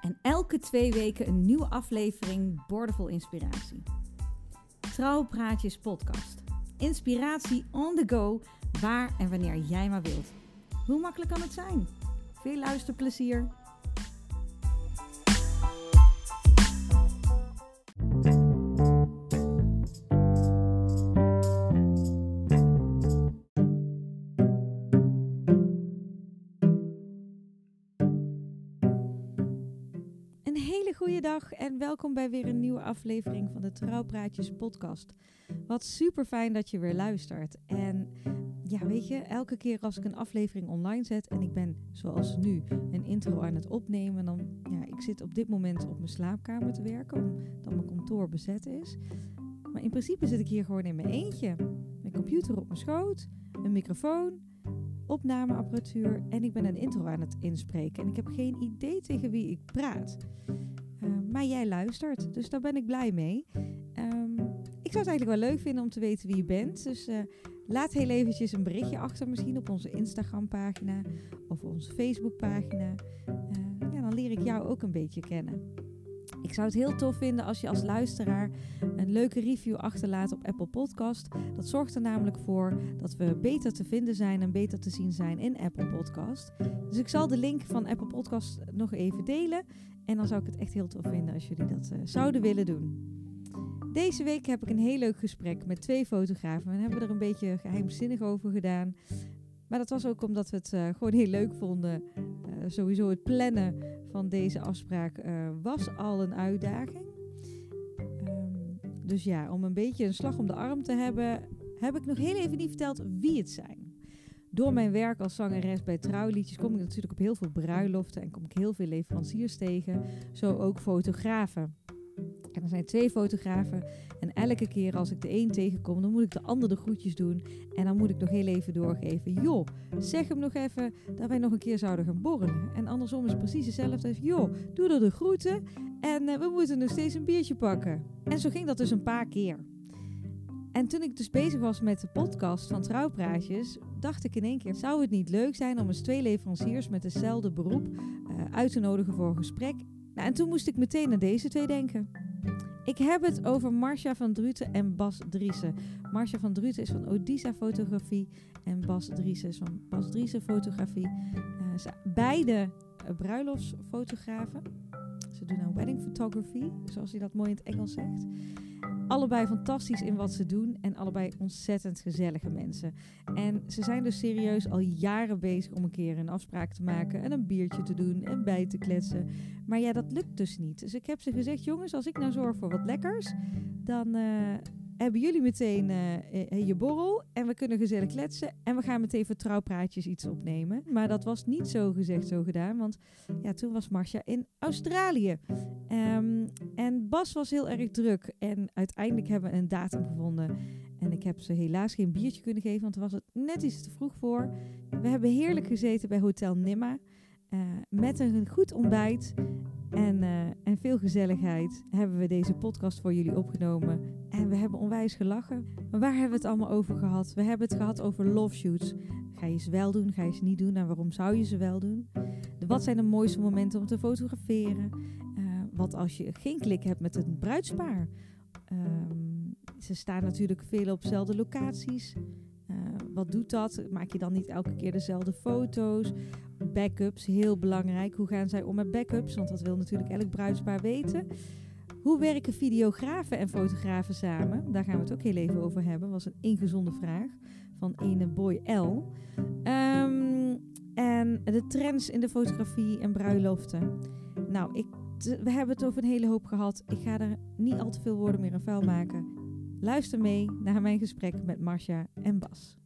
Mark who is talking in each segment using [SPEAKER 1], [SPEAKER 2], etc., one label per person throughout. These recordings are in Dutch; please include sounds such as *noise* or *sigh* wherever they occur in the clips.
[SPEAKER 1] En elke twee weken een nieuwe aflevering Bordevol Inspiratie. Trouwpraatjes podcast. Inspiratie on the go, waar en wanneer jij maar wilt. Hoe makkelijk kan het zijn? Veel luisterplezier. Een hele goede dag en welkom bij weer een nieuwe aflevering van de Trouwpraatjes podcast. Wat super fijn dat je weer luistert. En ja, weet je, elke keer als ik een aflevering online zet en ik ben zoals nu een intro aan het opnemen, dan ja, ik zit op dit moment op mijn slaapkamer te werken omdat mijn kantoor bezet is. Maar in principe zit ik hier gewoon in mijn eentje. Mijn computer op mijn schoot, een microfoon, opnameapparatuur en ik ben een intro aan het inspreken. En ik heb geen idee tegen wie ik praat. Eh, maar jij luistert, dus daar ben ik blij mee. Ehm, ik zou het eigenlijk wel leuk vinden om te weten wie je bent. Dus eh, laat heel eventjes een berichtje achter, misschien op onze Instagram-pagina of onze Facebook-pagina. Eh, ja, dan leer ik jou ook een beetje kennen. Ik zou het heel tof vinden als je als luisteraar een leuke review achterlaat op Apple Podcast. Dat zorgt er namelijk voor dat we beter te vinden zijn en beter te zien zijn in Apple Podcast. Dus ik zal de link van Apple Podcast nog even delen. En dan zou ik het echt heel tof vinden als jullie dat eh, zouden willen doen. Deze week heb ik een heel leuk gesprek met twee fotografen. We hebben er een beetje geheimzinnig over gedaan. Maar dat was ook omdat we het eh, gewoon heel leuk vonden. Eh, sowieso het plannen van deze afspraak eh, was al een uitdaging. Ehm, dus ja, om een beetje een slag om de arm te hebben, heb ik nog heel even niet verteld wie het zijn. Door mijn werk als zangeres bij trouwliedjes kom ik natuurlijk op heel veel bruiloften en kom ik heel veel leveranciers tegen, zo ook fotografen. En er zijn twee fotografen en elke keer als ik de een tegenkom, dan moet ik de ander de groetjes doen en dan moet ik nog heel even doorgeven. Joh, zeg hem nog even dat wij nog een keer zouden gaan borrelen. En andersom is het precies hetzelfde. Joh, doe er de groeten en eh, we moeten nog steeds een biertje pakken. En zo ging dat dus een paar keer. En toen ik dus bezig was met de podcast van Trouwpraatjes, dacht ik in één keer: zou het niet leuk zijn om eens twee leveranciers met hetzelfde beroep eh, uit te nodigen voor een gesprek? Nou, en toen moest ik meteen aan deze twee denken. Ik heb het over Marcia van Druten en Bas Driessen. Marcia van Druten is van Odisa Fotografie en Bas Driessen is van Bas Driessen Fotografie. Eh, ze- beide eh, bruiloftsfotografen. Ze doen aan wedding photography, zoals hij dat mooi in het Engels zegt. Allebei fantastisch in wat ze doen en allebei ontzettend gezellige mensen. En ze zijn dus serieus al jaren bezig om een keer een afspraak te maken en een biertje te doen en bij te kletsen. Maar ja, dat lukt dus niet. Dus ik heb ze gezegd, jongens, als ik nou zorg voor wat lekkers, dan eh, hebben jullie meteen eh, eh, je borrel en we kunnen gezellig kletsen en we gaan meteen voor trouwpraatjes iets opnemen. Maar dat was niet zo gezegd, zo gedaan, want ja, toen was Marcia in Australië. Ehm, en Bas was heel erg druk. En uiteindelijk hebben we een datum gevonden. En ik heb ze helaas geen biertje kunnen geven, want er was het net iets te vroeg voor. We hebben heerlijk gezeten bij Hotel Nimma. eh, met een goed ontbijt en, eh, en veel gezelligheid hebben we deze podcast voor jullie opgenomen. En we hebben onwijs gelachen. Maar waar hebben we het allemaal over gehad? We hebben het gehad over love shoots. Ga je ze wel doen, ga je ze niet doen en waarom zou je ze wel doen? De- Wat zijn de mooiste momenten om te fotograferen? Eh, wat als je geen klik hebt met een bruidspaar? Ehm, ze staan natuurlijk veel op dezelfde locaties. Eh, wat doet dat? Maak je dan niet elke keer dezelfde foto's? Backups, heel belangrijk. Hoe gaan zij om met backups? Want dat wil natuurlijk elk bruidspaar weten. Hoe werken videografen en fotografen samen? Daar gaan we het ook heel even over hebben. Was een ingezonde vraag van ene boy L. Ehm, en de trends in de fotografie en bruiloften. Nou, ik, t- we hebben het over een hele hoop gehad. Ik ga er niet al te veel woorden meer aan vuil maken. Luister mee naar mijn gesprek met Marcia en Bas.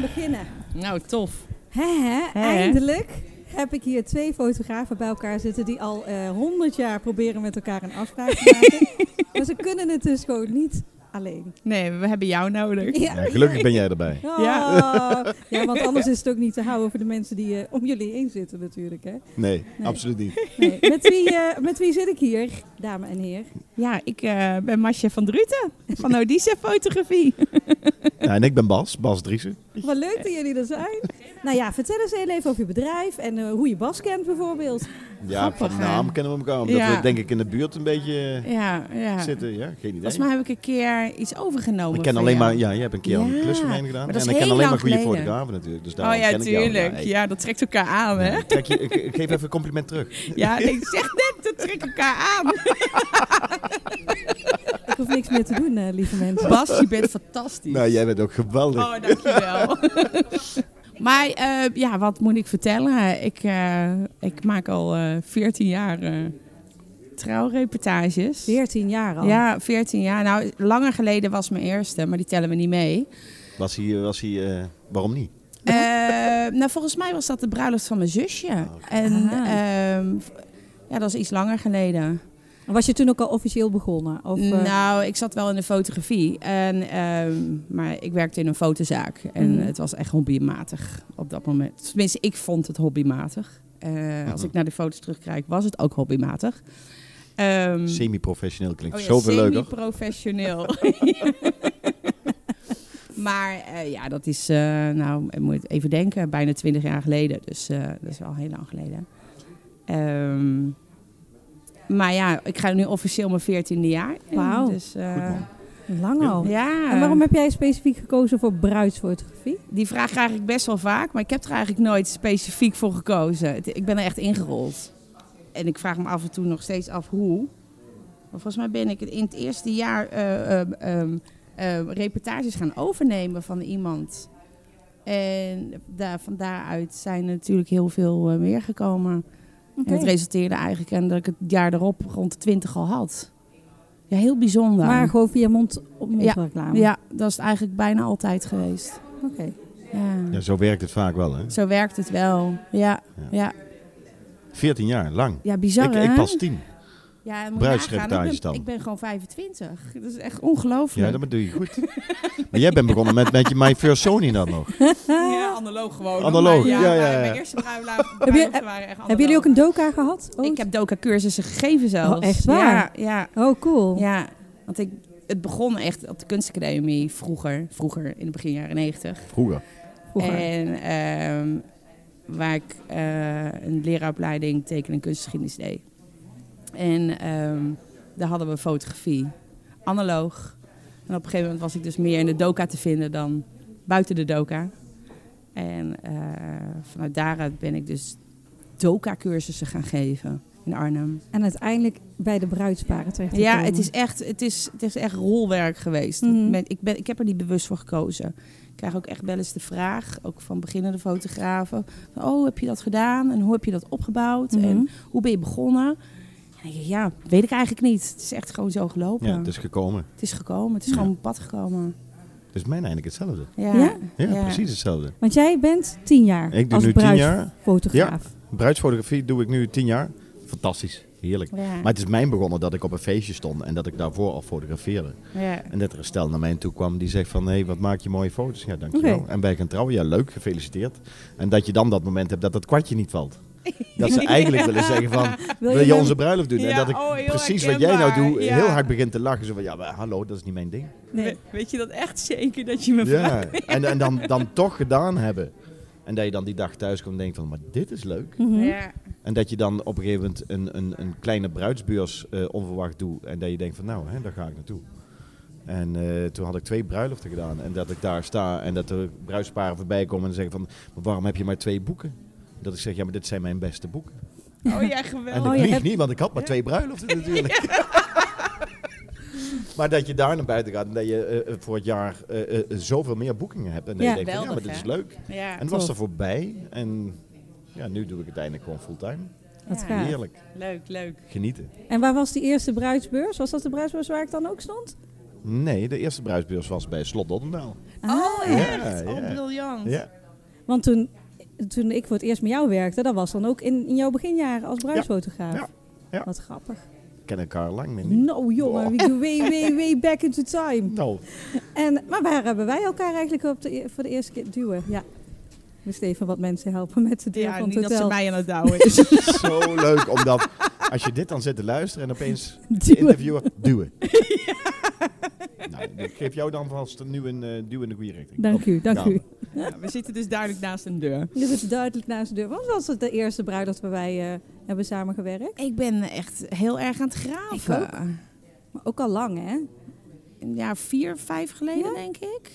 [SPEAKER 2] beginnen.
[SPEAKER 3] Nou, tof.
[SPEAKER 2] Hè, hè?
[SPEAKER 3] hè?
[SPEAKER 2] Eindelijk heb ik hier twee fotografen bij elkaar zitten die al eh, honderd jaar proberen met elkaar een afspraak te maken. maar ze kunnen het dus gewoon niet alleen.
[SPEAKER 3] Nee, we hebben jou nodig.
[SPEAKER 2] Ja.
[SPEAKER 4] Ja, gelukkig ben jij erbij.
[SPEAKER 2] Oh.
[SPEAKER 3] Ja.
[SPEAKER 2] *laughs* Ja. want anders is het ook niet te houden voor de mensen die eh, om jullie heen zitten natuurlijk. Hè?
[SPEAKER 4] Nee,
[SPEAKER 2] Nee.
[SPEAKER 4] absoluut niet.
[SPEAKER 2] Nee. Met, wie, eh, met wie zit ik hier, dame en heer?
[SPEAKER 3] Ja, ik eh, ben Masje van Druten *laughs* van Odisse Fotografie.
[SPEAKER 4] Ja, en ik ben Bas, Bas Driessen.
[SPEAKER 2] Wat leuk dat jullie er zijn. Nou ja, vertel eens heel even over je bedrijf en eh, hoe je Bas kent bijvoorbeeld.
[SPEAKER 4] Ja,
[SPEAKER 3] Grappig,
[SPEAKER 4] van
[SPEAKER 3] hè?
[SPEAKER 4] naam kennen we elkaar, omdat
[SPEAKER 3] Ja.
[SPEAKER 4] we denk ik in de buurt een beetje eh,
[SPEAKER 3] Ja, ja.
[SPEAKER 4] zitten. Ja, geen idee.
[SPEAKER 3] Volgens mij heb ik een keer iets overgenomen.
[SPEAKER 4] ik ken
[SPEAKER 3] van
[SPEAKER 4] alleen
[SPEAKER 3] jou.
[SPEAKER 4] maar, ja, je hebt een keer al
[SPEAKER 3] Ja,
[SPEAKER 4] een klus voor mij gedaan.
[SPEAKER 3] maar dat is
[SPEAKER 4] en ik ken
[SPEAKER 3] heel
[SPEAKER 4] alleen maar
[SPEAKER 3] lang
[SPEAKER 4] goede
[SPEAKER 3] geleden.
[SPEAKER 4] fotografen natuurlijk. Dus
[SPEAKER 3] Oh
[SPEAKER 4] daarom
[SPEAKER 3] ja,
[SPEAKER 4] ken ik jou.
[SPEAKER 3] tuurlijk.
[SPEAKER 4] Ja,
[SPEAKER 3] Ja,
[SPEAKER 4] ik-
[SPEAKER 3] dat trekt elkaar aan, hè?
[SPEAKER 4] Trek je, ik, ik geef even een
[SPEAKER 3] *laughs*
[SPEAKER 4] compliment terug.
[SPEAKER 3] Ja, ik zeg net, dat trekt elkaar
[SPEAKER 4] *laughs*
[SPEAKER 3] aan.
[SPEAKER 2] Ik hoef niks meer te doen, eh, lieve mensen.
[SPEAKER 3] Bas, je bent fantastisch.
[SPEAKER 4] Nou, jij bent ook geweldig.
[SPEAKER 3] Oh,
[SPEAKER 4] *laughs*
[SPEAKER 3] dankjewel. maar eh, ja, wat moet ik vertellen? Ik, eh, ik maak al eh 14 jaar eh, trouwreportages.
[SPEAKER 2] 14 jaar al.
[SPEAKER 3] Ja, 14 jaar. Nou, langer geleden was mijn eerste, maar die tellen we niet mee.
[SPEAKER 2] *laughs*
[SPEAKER 4] Was hij, was hij eh, waarom niet?
[SPEAKER 3] Eh, nou, volgens mij was dat de bruiloft van mijn zusje. En
[SPEAKER 2] Ah.
[SPEAKER 3] ehm, v- ja, dat is iets langer geleden.
[SPEAKER 2] Was je toen ook al officieel begonnen? Of, eh,
[SPEAKER 3] Nou, ik zat wel in de fotografie. En, ehm, maar ik werkte in een fotozaak. En
[SPEAKER 2] Mhm.
[SPEAKER 3] het was echt hobbymatig op dat moment. Tenminste, ik vond het hobbymatig. Eh, als
[SPEAKER 4] Mhm.
[SPEAKER 3] ik naar de foto's terugkijk, was het ook hobbymatig. Ehm,
[SPEAKER 4] Semi-professioneel klinkt
[SPEAKER 3] oh ja,
[SPEAKER 4] zoveel leuker.
[SPEAKER 3] Semi-professioneel. *laughs* maar eh, ja, dat is, eh, nou, ik moet even denken, bijna twintig jaar geleden. Dus eh, dat is wel heel lang geleden. Ehm, maar ja, ik ga nu officieel mijn veertiende jaar. in,
[SPEAKER 2] Wauw.
[SPEAKER 3] Dus, eh,
[SPEAKER 4] Goed man.
[SPEAKER 2] Lang al.
[SPEAKER 3] ja.
[SPEAKER 2] En waarom heb jij specifiek gekozen voor bruidsfotografie?
[SPEAKER 3] Die vraag krijg ik best wel vaak, maar ik heb er eigenlijk nooit specifiek voor gekozen. Het- Ik ben er echt ingerold. En ik vraag me af en toe nog steeds af hoe. Maar volgens mij ben ik het in het eerste jaar eh, ehm, ehm, ehm, reportages gaan overnemen van iemand. En daar, van daaruit zijn er natuurlijk heel veel eh, meer gekomen. En het resulteerde eigenlijk in dat ik het jaar erop rond de twintig al had. Ja, heel bijzonder.
[SPEAKER 2] Maar gewoon via mond op mond reclame.
[SPEAKER 3] ja, dat is het eigenlijk bijna altijd geweest.
[SPEAKER 2] Oké.
[SPEAKER 3] Ja.
[SPEAKER 4] Ja, zo werkt het vaak wel, hè?
[SPEAKER 3] Zo werkt het wel. Ja,
[SPEAKER 4] Ja.
[SPEAKER 3] ja.
[SPEAKER 4] 14 jaar, lang.
[SPEAKER 3] ja bizar
[SPEAKER 4] ik,
[SPEAKER 3] hè?
[SPEAKER 4] ik pas 10.
[SPEAKER 3] ja, en moet
[SPEAKER 4] bruidsreportages
[SPEAKER 3] nagaan, ik ben,
[SPEAKER 4] dan.
[SPEAKER 3] ik ben gewoon 25. Dat is echt
[SPEAKER 4] Ja,
[SPEAKER 3] ongelooflijk.
[SPEAKER 4] dat doe je goed. *laughs* maar jij bent begonnen met, met je My First Sony dan nog.
[SPEAKER 3] Ja, analoog gewoon. eh,
[SPEAKER 4] Analoog, Maar ja, ja, ja, mijn- ja. mijn
[SPEAKER 3] eerste *laughs* bruiloft
[SPEAKER 2] Heb je- bruiloften
[SPEAKER 3] waren echt
[SPEAKER 2] Hebben jullie ook een doka gehad? ooit?
[SPEAKER 3] Ik heb doka-cursussen gegeven zelfs.
[SPEAKER 2] Oh, echt waar?
[SPEAKER 3] Ja,
[SPEAKER 2] Oh, cool.
[SPEAKER 3] ja, ja. Want ik, het begon echt op de kunstacademie vroeger. Vroeger, in de begin jaren 90.
[SPEAKER 4] Vroeger.
[SPEAKER 2] Vroeger.
[SPEAKER 3] En ehm, waar ik eh, een leraaropleiding tekenen en kunstgeschiedenis deed. En ehm, daar hadden we fotografie, analoog. En op een gegeven moment was ik dus meer in de doka te vinden dan buiten de doka. En eh, vanuit daaruit ben ik dus doka-cursussen gaan geven in Arnhem.
[SPEAKER 2] En uiteindelijk bij de bruidsparen terecht.
[SPEAKER 3] Ja, het is echt, het is, het is echt rolwerk geweest.
[SPEAKER 2] Mhm.
[SPEAKER 3] Met- ik, ben, ik heb er niet bewust voor gekozen. Ik krijg ook echt wel eens de vraag, ook van beginnende fotografen. Van, oh, heb je dat gedaan? En hoe heb je dat opgebouwd?
[SPEAKER 2] Mhm.
[SPEAKER 4] Mhm.
[SPEAKER 3] En hoe ben je begonnen? En dan denk ik, ja, weet ik eigenlijk niet. Het is echt gewoon zo gelopen.
[SPEAKER 4] Ja,
[SPEAKER 3] het,
[SPEAKER 4] het
[SPEAKER 3] is...
[SPEAKER 4] is gekomen.
[SPEAKER 3] gekomen. Het is
[SPEAKER 4] Ja.
[SPEAKER 3] gewoon op pad gekomen.
[SPEAKER 4] Het is mijn eigenlijk hetzelfde.
[SPEAKER 3] Ja,
[SPEAKER 2] Ja?
[SPEAKER 4] Ja, precies hetzelfde.
[SPEAKER 2] Want jij bent tien jaar
[SPEAKER 4] Ik doe
[SPEAKER 2] als
[SPEAKER 4] nu 10 jaar.
[SPEAKER 2] bruidsfotograaf.
[SPEAKER 4] Bruidsfotografie doe ik nu 10 jaar. Fantastisch. Heerlijk.
[SPEAKER 3] Ja.
[SPEAKER 4] Maar het is mijn begonnen dat ik op een feestje stond en dat ik daarvoor al fotografeerde.
[SPEAKER 3] Ja.
[SPEAKER 4] En dat er een stel naar mij toe kwam die zegt van, hé, wat maak je mooie foto's. Ja, dankjewel.
[SPEAKER 2] Oké.
[SPEAKER 4] En wij gaan trouwen. Ja, leuk, gefeliciteerd. En dat je dan dat moment hebt dat dat kwartje niet valt. Dat ze eigenlijk willen zeggen van, wil je
[SPEAKER 2] mijn-
[SPEAKER 4] onze bruiloft doen?
[SPEAKER 3] Ja,
[SPEAKER 4] en dat ik
[SPEAKER 3] oh, heel
[SPEAKER 4] precies wat jij nou
[SPEAKER 3] herkenbaar.
[SPEAKER 4] doet
[SPEAKER 3] Ja.
[SPEAKER 4] heel hard begin te lachen. Zo van, ja, maar hallo, dat is niet mijn ding.
[SPEAKER 2] Nee.
[SPEAKER 3] Weet je dat echt zeker dat *laughs* je me
[SPEAKER 4] Ja, en, en dan, dan toch gedaan hebben. En dat je dan die dag thuis komt en denkt van, maar dit is leuk.
[SPEAKER 2] Mhm.
[SPEAKER 3] Ja.
[SPEAKER 4] En dat je dan op een gegeven moment een, een, een kleine bruidsbeurs eh, onverwacht doet. En dat je denkt van, nou, hè, daar ga ik naartoe. En eh, toen had ik twee bruiloften gedaan. En dat ik daar sta en dat er bruidsparen voorbij komen en zeggen van, maar waarom heb je maar twee boeken? Dat ik zeg, ja, maar dit zijn mijn beste boeken.
[SPEAKER 3] Oh ja,
[SPEAKER 4] En
[SPEAKER 3] geweldig.
[SPEAKER 4] ik
[SPEAKER 2] je
[SPEAKER 4] lieg
[SPEAKER 2] hebt-
[SPEAKER 4] niet, want ik had maar twee bruiloften
[SPEAKER 2] *laughs*
[SPEAKER 4] natuurlijk. *laughs* maar dat je daar naar buiten gaat en dat je eh, eh, voor het jaar eh, eh, zoveel meer boekingen hebt. En dat
[SPEAKER 2] Ja.
[SPEAKER 4] je denkt, van, ja, maar dit is
[SPEAKER 3] Geweldig,
[SPEAKER 4] leuk.
[SPEAKER 3] Ja,
[SPEAKER 4] En het was
[SPEAKER 2] Tof.
[SPEAKER 4] er voorbij. En ja, nu doe ik het eindelijk gewoon fulltime.
[SPEAKER 2] Wat
[SPEAKER 3] Ja.
[SPEAKER 2] gaaf.
[SPEAKER 4] Heerlijk.
[SPEAKER 3] Leuk, leuk.
[SPEAKER 4] Genieten.
[SPEAKER 2] En waar was die eerste bruidsbeurs? Was dat de bruidsbeurs waar ik dan ook stond?
[SPEAKER 4] Nee, de eerste bruidsbeurs was bij Slot Doddendaal.
[SPEAKER 3] Oh,
[SPEAKER 4] Ja,
[SPEAKER 3] echt?
[SPEAKER 4] ja.
[SPEAKER 3] Oh, briljant.
[SPEAKER 4] Ja.
[SPEAKER 2] Want toen, toen ik voor het eerst met jou werkte, dat was dan ook in, in jouw beginjaren als bruidsfotograaf.
[SPEAKER 4] Ja. Ja.
[SPEAKER 2] Wat grappig.
[SPEAKER 4] kennen elkaar lang meer niet.
[SPEAKER 2] Nou jongen, we go way, way, way back into time.
[SPEAKER 4] Nou,
[SPEAKER 2] En, maar waar hebben wij elkaar eigenlijk op de, e- voor de eerste keer duwen? Ja. Ik moest even wat mensen helpen met de deur
[SPEAKER 3] Ja,
[SPEAKER 2] van
[SPEAKER 3] niet
[SPEAKER 2] het
[SPEAKER 3] dat ze
[SPEAKER 2] hotel.
[SPEAKER 3] mij aan het douwen *laughs* is.
[SPEAKER 4] zo *laughs* leuk omdat als je dit dan zit te luisteren en opeens de
[SPEAKER 2] *laughs* Duwen.
[SPEAKER 4] interviewer
[SPEAKER 2] *laughs*
[SPEAKER 4] duwen. Nou, ik geef jou dan vast nu een eh, duw in de goede richting.
[SPEAKER 2] Dank u, dank
[SPEAKER 4] Nou,
[SPEAKER 2] u.
[SPEAKER 3] Ja, we zitten dus duidelijk naast een deur.
[SPEAKER 2] Je zit duidelijk naast de deur. Wat was het de eerste bruid dat we bij eh, hebben samengewerkt?
[SPEAKER 3] Ik ben echt heel erg aan het graven.
[SPEAKER 2] Maar ook al lang, hè?
[SPEAKER 3] Ja, vier, vijf geleden
[SPEAKER 2] Ja?
[SPEAKER 3] denk ik.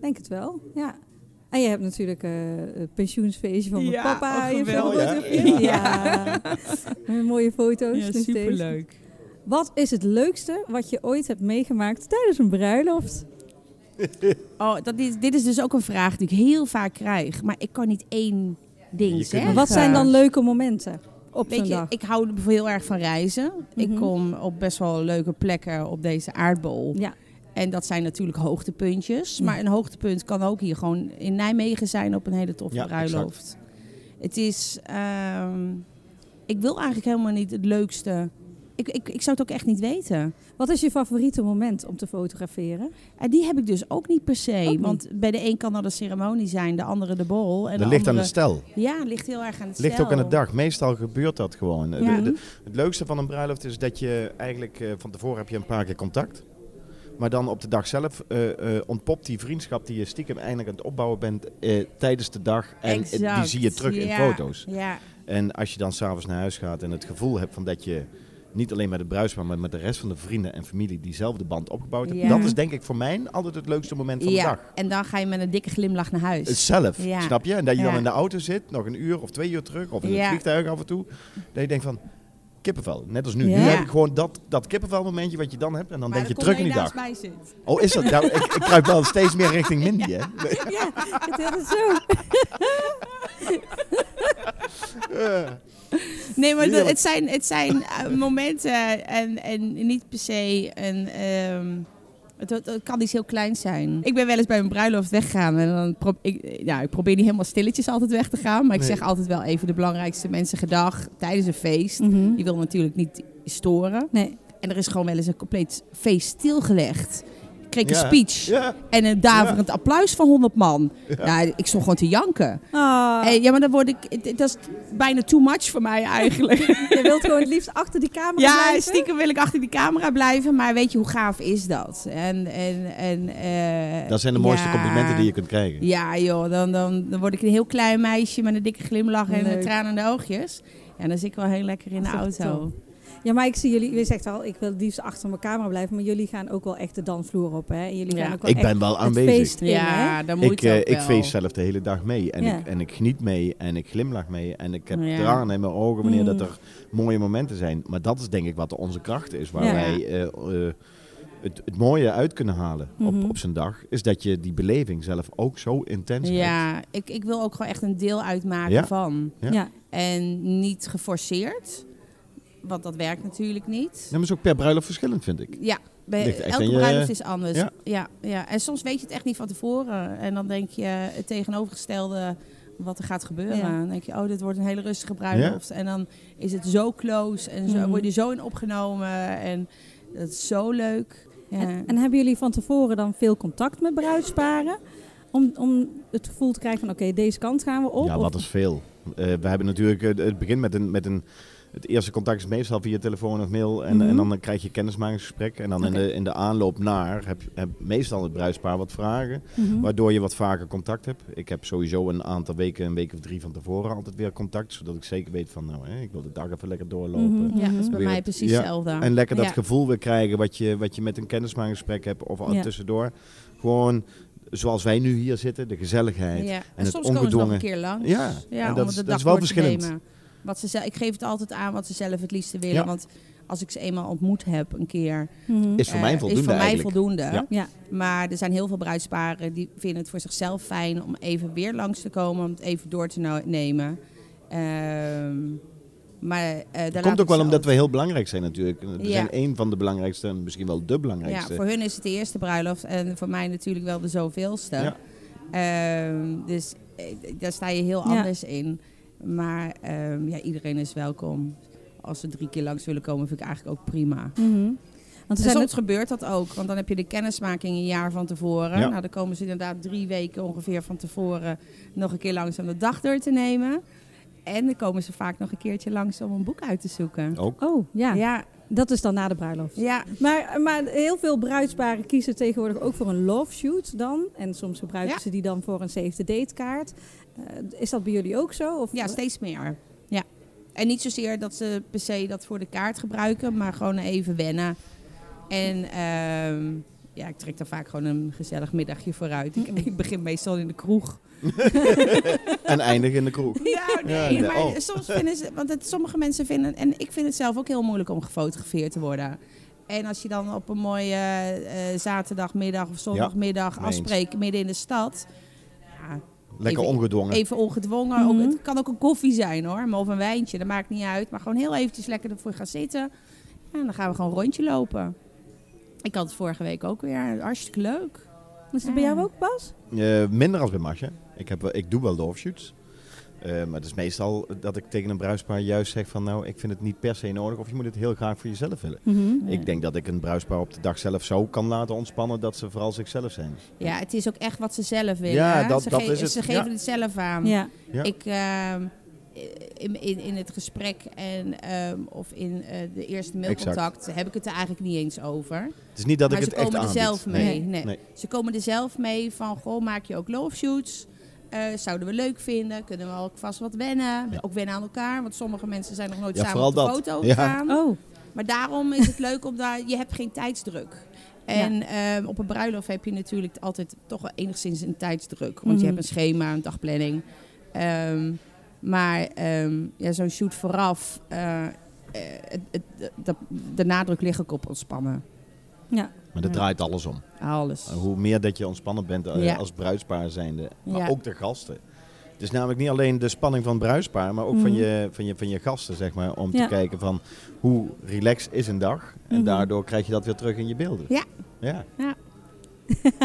[SPEAKER 2] Denk het wel, ja. En je hebt natuurlijk eh, het pensioensfeestje van mijn
[SPEAKER 3] Ja,
[SPEAKER 2] papa.
[SPEAKER 3] oh,
[SPEAKER 2] Je hebt
[SPEAKER 3] geweldig.
[SPEAKER 2] gefotografeerd. Ja. Met mooie
[SPEAKER 4] Oh,
[SPEAKER 2] foto's. nog steeds. Wat is het leukste wat je ooit hebt meegemaakt tijdens een bruiloft?
[SPEAKER 3] Oh, dat is, dit is dus ook een vraag die ik heel vaak krijg. Maar ik kan niet één
[SPEAKER 4] Je
[SPEAKER 3] ding
[SPEAKER 4] kunt
[SPEAKER 3] zeggen.
[SPEAKER 4] niet-
[SPEAKER 2] Wat zijn dan leuke momenten op zo'n
[SPEAKER 3] Weet je,
[SPEAKER 2] dag?
[SPEAKER 3] ik hou bijvoorbeeld heel erg van reizen. Ik
[SPEAKER 2] Mhm.
[SPEAKER 3] kom op best wel leuke plekken op deze aardbol.
[SPEAKER 2] Ja.
[SPEAKER 3] En dat zijn natuurlijk hoogtepuntjes.
[SPEAKER 2] Ja.
[SPEAKER 3] Maar een hoogtepunt kan ook hier gewoon in Nijmegen zijn op een hele toffe
[SPEAKER 4] Ja,
[SPEAKER 3] bruiloft. Het is... ehm, ik wil eigenlijk helemaal niet het leukste... Ik, ik, ik zou het ook echt niet weten.
[SPEAKER 2] Wat is je favoriete moment om te fotograferen?
[SPEAKER 3] En die heb ik dus ook niet per se.
[SPEAKER 2] niet.
[SPEAKER 3] Want bij de een kan dat een ceremonie zijn, de andere de borrel. En
[SPEAKER 4] Dat
[SPEAKER 3] de
[SPEAKER 4] ligt
[SPEAKER 3] andere...
[SPEAKER 4] aan het stel.
[SPEAKER 3] Ja, ligt heel erg aan het
[SPEAKER 4] Ligt
[SPEAKER 3] stijl.
[SPEAKER 4] ook aan de dag. Meestal gebeurt dat gewoon.
[SPEAKER 3] Ja.
[SPEAKER 4] De- de- het leukste van een bruiloft is dat je eigenlijk eh, van tevoren heb je een paar keer contact. Maar dan op de dag zelf eh, eh, ontpopt die vriendschap die je stiekem eindelijk aan het opbouwen bent eh, tijdens de dag. En eh, die
[SPEAKER 3] Exact.
[SPEAKER 4] zie je terug in
[SPEAKER 3] Ja,
[SPEAKER 4] foto's.
[SPEAKER 3] Ja,
[SPEAKER 4] En als je dan s'avonds naar huis gaat en het gevoel hebt van dat je niet alleen met de bruidspaar, maar met de rest van de vrienden en familie diezelfde band opgebouwd hebt.
[SPEAKER 3] Ja.
[SPEAKER 4] Dat is denk ik voor mij altijd het leukste moment van de
[SPEAKER 3] ja.
[SPEAKER 4] dag.
[SPEAKER 3] en dan ga je met een dikke glimlach naar
[SPEAKER 4] Het
[SPEAKER 3] huis.
[SPEAKER 4] zelf,
[SPEAKER 3] Ja.
[SPEAKER 4] snap je? En dat je dan
[SPEAKER 3] Ja.
[SPEAKER 4] in de auto zit, nog een uur of twee uur terug, of in
[SPEAKER 3] Ja.
[SPEAKER 4] het vliegtuig af en toe. Dat je denkt van, kippenvel, net als nu.
[SPEAKER 2] Ja.
[SPEAKER 4] Nu heb ik gewoon dat, dat kippenvel momentje wat je dan hebt en dan denk je terug in die dag.
[SPEAKER 3] Mij zit.
[SPEAKER 4] Oh, is dat? Nou, ik, ik kruip wel steeds meer richting Mindy, *laughs* hè?
[SPEAKER 2] Ja, het is zo.
[SPEAKER 4] Eh,
[SPEAKER 3] Nee, maar dat-
[SPEAKER 4] Heerlijk.
[SPEAKER 3] het zijn, het zijn eh,
[SPEAKER 4] *laughs*
[SPEAKER 3] momenten en, en niet per se een... ehm, het, het- het kan iets heel kleins zijn. Ik ben wel eens bij een bruiloft weggegaan. En dan pro- ik, ja, ik probeer niet helemaal stilletjes altijd weg te gaan. Maar ik
[SPEAKER 4] Nee.
[SPEAKER 3] zeg altijd wel even de belangrijkste mensen gedag tijdens een feest.
[SPEAKER 2] Mhm.
[SPEAKER 3] Je wil natuurlijk niet storen.
[SPEAKER 2] Nee,
[SPEAKER 3] En er is gewoon wel eens een compleet feest stilgelegd. Ik kreeg
[SPEAKER 4] Ja.
[SPEAKER 3] een speech
[SPEAKER 4] ja.
[SPEAKER 3] en een daverend applaus van 100 man. Ja. ik stond gewoon te janken.
[SPEAKER 2] Ah,
[SPEAKER 3] Eh, ja, maar dan word ik. het- het- Dat is bijna too much voor mij eigenlijk.
[SPEAKER 2] je wilt gewoon het liefst achter die camera
[SPEAKER 3] ja,
[SPEAKER 2] blijven?
[SPEAKER 3] stiekem wil ik achter die camera blijven. Maar weet je, hoe gaaf is dat? En, en, en, eh,
[SPEAKER 4] Dat zijn de mooiste
[SPEAKER 3] ja.
[SPEAKER 4] complimenten die je kunt krijgen.
[SPEAKER 3] Ja, joh, dan, dan, dan word ik een heel klein meisje met een dikke glimlach en
[SPEAKER 2] Leuk.
[SPEAKER 3] een traan in de oogjes. En dan zit ik wel heel lekker in de
[SPEAKER 2] Dat is echt
[SPEAKER 3] auto.
[SPEAKER 2] Ja, maar ik zie jullie, je zegt al, ik wil het liefst achter mijn camera blijven, maar jullie gaan ook wel echt de dansvloer op, hè? En jullie
[SPEAKER 3] Ja.
[SPEAKER 2] gaan ook wel
[SPEAKER 4] Ik
[SPEAKER 2] echt
[SPEAKER 4] ben wel
[SPEAKER 2] het
[SPEAKER 4] aanwezig.
[SPEAKER 2] feest in, hè?
[SPEAKER 3] Ja, dan moet
[SPEAKER 4] Ik,
[SPEAKER 3] dat
[SPEAKER 4] eh, ik
[SPEAKER 3] wel.
[SPEAKER 4] feest zelf de hele dag mee. En,
[SPEAKER 2] Ja. Oh,
[SPEAKER 4] ik, en ik geniet mee. En ik glimlach mee. En ik heb
[SPEAKER 3] Ja.
[SPEAKER 4] tranen in mijn ogen wanneer dat
[SPEAKER 2] Mm.
[SPEAKER 4] er mooie momenten zijn. Maar dat is denk ik wat onze kracht is. Waar
[SPEAKER 2] Ja.
[SPEAKER 4] wij eh, eh, het, het mooie uit kunnen halen
[SPEAKER 2] Mhm.
[SPEAKER 4] op, op zijn dag. Is dat je die beleving zelf ook zo intens hebt.
[SPEAKER 3] Ja, ik, ik wil ook gewoon echt een deel uitmaken
[SPEAKER 4] Ja.
[SPEAKER 3] van.
[SPEAKER 4] Ja.
[SPEAKER 2] Ja.
[SPEAKER 3] En niet geforceerd. Want dat werkt natuurlijk niet.
[SPEAKER 4] Ja, maar is ook per bruiloft verschillend, vind ik.
[SPEAKER 3] Ja, bij
[SPEAKER 4] Ligt echt
[SPEAKER 3] elke
[SPEAKER 4] aan je-
[SPEAKER 3] bruiloft is anders.
[SPEAKER 4] Ja.
[SPEAKER 3] Ja. Ja, En soms weet je het echt niet van tevoren. En dan denk je het tegenovergestelde wat er gaat gebeuren.
[SPEAKER 2] Ja.
[SPEAKER 3] Dan denk je, oh, dit wordt een hele rustige bruiloft. En dan is het zo close en zo,
[SPEAKER 2] Mhm.
[SPEAKER 3] word je zo in opgenomen. En dat is zo leuk. Ja.
[SPEAKER 2] En, en hebben jullie van tevoren dan veel contact met bruidsparen? Om, om het gevoel te krijgen van, oké, deze kant gaan we op?
[SPEAKER 4] Ja,
[SPEAKER 2] of-
[SPEAKER 4] wat is veel. Eh, we hebben natuurlijk eh, het begin met een, met een. Het eerste contact is meestal via telefoon of mail. En,
[SPEAKER 2] Mhm.
[SPEAKER 4] en dan krijg je kennismakingsgesprek. En dan in, de, in de aanloop naar heb, heb meestal het bruidspaar wat vragen.
[SPEAKER 2] Mhm.
[SPEAKER 4] Waardoor je wat vaker contact hebt. Ik heb sowieso een aantal weken, een week of drie van tevoren altijd weer contact. Zodat ik zeker weet van, nou, hè, ik wil de dag even lekker doorlopen.
[SPEAKER 2] Mhm.
[SPEAKER 3] ja, dat is bij
[SPEAKER 4] Weer
[SPEAKER 3] mij
[SPEAKER 4] het-
[SPEAKER 3] precies
[SPEAKER 4] ja.
[SPEAKER 3] hetzelfde.
[SPEAKER 4] En lekker dat
[SPEAKER 3] Ja.
[SPEAKER 4] gevoel weer krijgen wat je, wat je met een kennismakingsgesprek hebt of al
[SPEAKER 2] Ja.
[SPEAKER 4] tussendoor. Gewoon zoals wij nu hier zitten, de gezelligheid.
[SPEAKER 3] Ja. En,
[SPEAKER 4] het
[SPEAKER 3] soms komen ze nog
[SPEAKER 4] ongedwongen.
[SPEAKER 3] een keer langs.
[SPEAKER 4] Ja, en
[SPEAKER 3] om
[SPEAKER 4] dat
[SPEAKER 3] het
[SPEAKER 4] is-
[SPEAKER 3] de
[SPEAKER 4] dat
[SPEAKER 3] dag
[SPEAKER 4] is wel
[SPEAKER 3] door te
[SPEAKER 4] verschillend.
[SPEAKER 3] nemen. Wat ze zelf, ik geef het altijd aan wat ze zelf het liefste willen.
[SPEAKER 4] Ja.
[SPEAKER 3] Want als ik ze eenmaal ontmoet heb een keer...
[SPEAKER 2] Mhm.
[SPEAKER 4] Is voor
[SPEAKER 3] eh,
[SPEAKER 4] mij voldoende
[SPEAKER 3] Is voor mij
[SPEAKER 4] eigenlijk.
[SPEAKER 3] voldoende.
[SPEAKER 4] Ja.
[SPEAKER 2] Ja.
[SPEAKER 3] Maar er zijn heel veel bruidsparen die vinden het voor zichzelf fijn... om even weer langs te komen, om het even door te no- nemen. Ehm, maar eh, daar laat
[SPEAKER 4] Dat komt
[SPEAKER 3] ik
[SPEAKER 4] ook wel
[SPEAKER 3] ze
[SPEAKER 4] omdat
[SPEAKER 3] altijd-
[SPEAKER 4] wij heel belangrijk zijn natuurlijk. We
[SPEAKER 3] Ja.
[SPEAKER 4] zijn één van de belangrijkste en misschien wel de belangrijkste.
[SPEAKER 3] Ja, voor hun is het de eerste bruiloft en voor mij natuurlijk wel de zoveelste.
[SPEAKER 4] Ja.
[SPEAKER 3] Ehm, dus eh, daar sta je heel
[SPEAKER 1] Ja.
[SPEAKER 3] anders in. Maar ehm, ja, iedereen is welkom. Als ze drie keer langs willen komen, vind ik eigenlijk ook prima.
[SPEAKER 1] Mhm. Want
[SPEAKER 3] En
[SPEAKER 2] Dus
[SPEAKER 1] er zijn
[SPEAKER 3] soms
[SPEAKER 1] ook-
[SPEAKER 3] gebeurt dat ook, want dan heb je de kennismaking een jaar van tevoren.
[SPEAKER 4] Ja.
[SPEAKER 3] Nou, dan komen ze inderdaad drie weken ongeveer van tevoren nog een keer langs om de dag door te nemen. En dan komen ze vaak nog een keertje langs om een boek uit te zoeken.
[SPEAKER 4] Ook.
[SPEAKER 1] Oh, ja.
[SPEAKER 3] ja,
[SPEAKER 1] Dat is dan na de bruiloft.
[SPEAKER 3] ja.
[SPEAKER 2] Maar, maar heel veel bruidsparen kiezen tegenwoordig ook voor een love shoot dan. En soms gebruiken
[SPEAKER 3] Ja.
[SPEAKER 2] ze die dan voor een save the date kaart. Eh, is dat bij jullie ook zo? Of
[SPEAKER 3] Ja, steeds meer. Ja. En niet zozeer dat ze per se dat voor de kaart gebruiken, maar gewoon even wennen. En ehm, ja, ik trek daar vaak gewoon een gezellig middagje vooruit. Ik, ik begin meestal in de kroeg.
[SPEAKER 4] En eindig in de kroeg.
[SPEAKER 3] Nou, *laughs* nee,
[SPEAKER 4] Ja, nee,
[SPEAKER 3] maar
[SPEAKER 4] oh.
[SPEAKER 3] soms vinden ze, want het, sommige mensen vinden, en ik vind het zelf ook heel moeilijk om gefotografeerd te worden. En als je dan op een mooie eh, eh, zaterdagmiddag of zondagmiddag
[SPEAKER 4] mee eens.
[SPEAKER 3] afspreekt midden in de stad. Ja,
[SPEAKER 4] Lekker
[SPEAKER 3] Even-
[SPEAKER 4] ongedwongen.
[SPEAKER 3] Even ongedwongen.
[SPEAKER 1] Mhm.
[SPEAKER 3] ook, het kan ook een koffie zijn hoor, maar of een wijntje, dat maakt niet uit. Maar gewoon heel eventjes lekker ervoor gaan zitten. En dan gaan we gewoon een rondje lopen. Ik had het vorige week ook weer. Hartstikke leuk.
[SPEAKER 2] Is het bij
[SPEAKER 3] Ja.
[SPEAKER 2] jou ook, Bas?
[SPEAKER 4] Eh, minder als bij Masje. Ik, heb, wel- ik doe wel de offshoots. Eh, maar het is meestal dat ik tegen een bruidspaar juist zeg van nou, ik vind het niet per se nodig of je moet het heel graag voor jezelf willen.
[SPEAKER 2] Mhm.
[SPEAKER 4] Ik denk dat ik een bruidspaar op de dag zelf zo kan laten ontspannen dat ze vooral zichzelf zijn.
[SPEAKER 3] Ja, het is ook echt wat ze zelf willen.
[SPEAKER 4] Ja,
[SPEAKER 3] hè.
[SPEAKER 4] dat-
[SPEAKER 3] ze
[SPEAKER 4] dat
[SPEAKER 3] ge-
[SPEAKER 4] is het.
[SPEAKER 3] Ze geven
[SPEAKER 4] Ja.
[SPEAKER 3] het zelf aan.
[SPEAKER 1] Ja.
[SPEAKER 4] Ja.
[SPEAKER 3] Ik, ehm, in, in, in het gesprek en, ehm, of in eh, de eerste mailcontact heb ik het er eigenlijk niet eens over.
[SPEAKER 4] Het is niet dat
[SPEAKER 3] maar
[SPEAKER 4] ik
[SPEAKER 3] ze
[SPEAKER 4] het echt
[SPEAKER 3] komen er
[SPEAKER 4] aanbied.
[SPEAKER 3] zelf mee.
[SPEAKER 4] Nee.
[SPEAKER 3] Nee.
[SPEAKER 4] Nee.
[SPEAKER 3] Ze komen er zelf mee van, goh, maak je ook love shoots? Eh, zouden we leuk vinden? Kunnen we ook vast wat wennen?
[SPEAKER 4] Ja.
[SPEAKER 3] Ook wennen aan elkaar, want sommige mensen zijn nog nooit
[SPEAKER 4] Ja,
[SPEAKER 3] samen
[SPEAKER 4] vooral
[SPEAKER 3] op de
[SPEAKER 4] dat.
[SPEAKER 3] foto
[SPEAKER 4] Ja.
[SPEAKER 3] gegaan.
[SPEAKER 1] Oh,
[SPEAKER 3] Maar daarom is het leuk om daar, je hebt geen tijdsdruk. En ehm, op een bruiloft heb je natuurlijk altijd toch wel enigszins een tijdsdruk. Want
[SPEAKER 1] Mhm.
[SPEAKER 3] je hebt een schema, een dagplanning. Ehm, maar ehm, ja, zo'n shoot vooraf, eh, eh, het, het, de, de nadruk ligt ook op ontspannen.
[SPEAKER 4] Maar dat
[SPEAKER 3] Ja.
[SPEAKER 4] draait alles om.
[SPEAKER 3] Alles.
[SPEAKER 4] Eh, Hoe meer dat je ontspannen bent eh,
[SPEAKER 3] Ja.
[SPEAKER 4] als bruidspaar zijnde, maar
[SPEAKER 3] Ja.
[SPEAKER 4] ook de gasten. Het is namelijk niet alleen de spanning van het bruidspaar, maar ook van,
[SPEAKER 1] Mhm.
[SPEAKER 4] je, van, je, van je gasten, zeg maar. Om
[SPEAKER 1] Ja.
[SPEAKER 4] te kijken van hoe relaxed is een dag. En
[SPEAKER 1] Mhm.
[SPEAKER 4] daardoor krijg je dat weer terug in je beelden.
[SPEAKER 3] Ja.
[SPEAKER 4] Ja,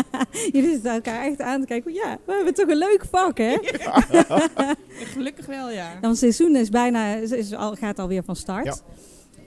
[SPEAKER 2] *laughs* Jullie zitten elkaar echt aan te kijken. Ja, we hebben toch een leuk vak, hè?
[SPEAKER 3] Gelukkig wel, ja.
[SPEAKER 2] Ja, want het seizoen is bijna, is, is al, gaat alweer van start.
[SPEAKER 4] Ja.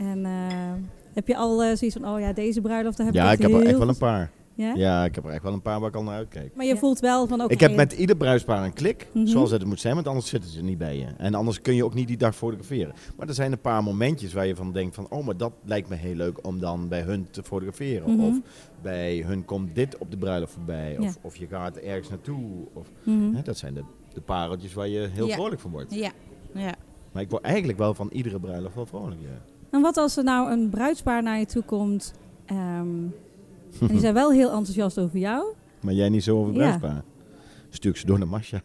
[SPEAKER 2] En eh, heb je al eh, zoiets van, oh ja, deze bruiloft, daar heb
[SPEAKER 4] ja
[SPEAKER 2] ik,
[SPEAKER 4] ik heb er echt
[SPEAKER 2] heel
[SPEAKER 4] wel een
[SPEAKER 2] veel-
[SPEAKER 4] paar.
[SPEAKER 2] Ja?
[SPEAKER 4] Ja, ik heb er echt wel een paar waar ik al naar uitkijk.
[SPEAKER 2] Maar je
[SPEAKER 1] Ja.
[SPEAKER 2] voelt wel van, oké.
[SPEAKER 4] Ik heb met ieder bruidspaar een klik,
[SPEAKER 2] Mhm.
[SPEAKER 4] zoals dat het moet zijn, want anders zitten ze niet bij je. En anders kun je ook niet die dag fotograferen. Maar er zijn een paar momentjes waar je van denkt van, oh, maar dat lijkt me heel leuk om dan bij hun te fotograferen.
[SPEAKER 2] Mhm.
[SPEAKER 4] Of bij hun komt dit op de bruiloft voorbij.
[SPEAKER 2] Ja.
[SPEAKER 4] Of, of je gaat ergens naartoe. Of,
[SPEAKER 2] Mhm.
[SPEAKER 4] hè, dat zijn de, de pareltjes waar je heel
[SPEAKER 3] Hm? Ja.
[SPEAKER 4] vrolijk van wordt.
[SPEAKER 3] Ja, ja.
[SPEAKER 4] Maar ik word eigenlijk wel van iedere bruiloft wel vrolijk. Ja.
[SPEAKER 2] En wat als er nou een bruidspaar naar je toe komt...
[SPEAKER 4] *laughs*
[SPEAKER 2] ehm, en die zijn wel heel enthousiast over jou.
[SPEAKER 4] Maar jij niet zo over
[SPEAKER 2] Ja.
[SPEAKER 4] bruidspaar. Stuk ze door naar Masha.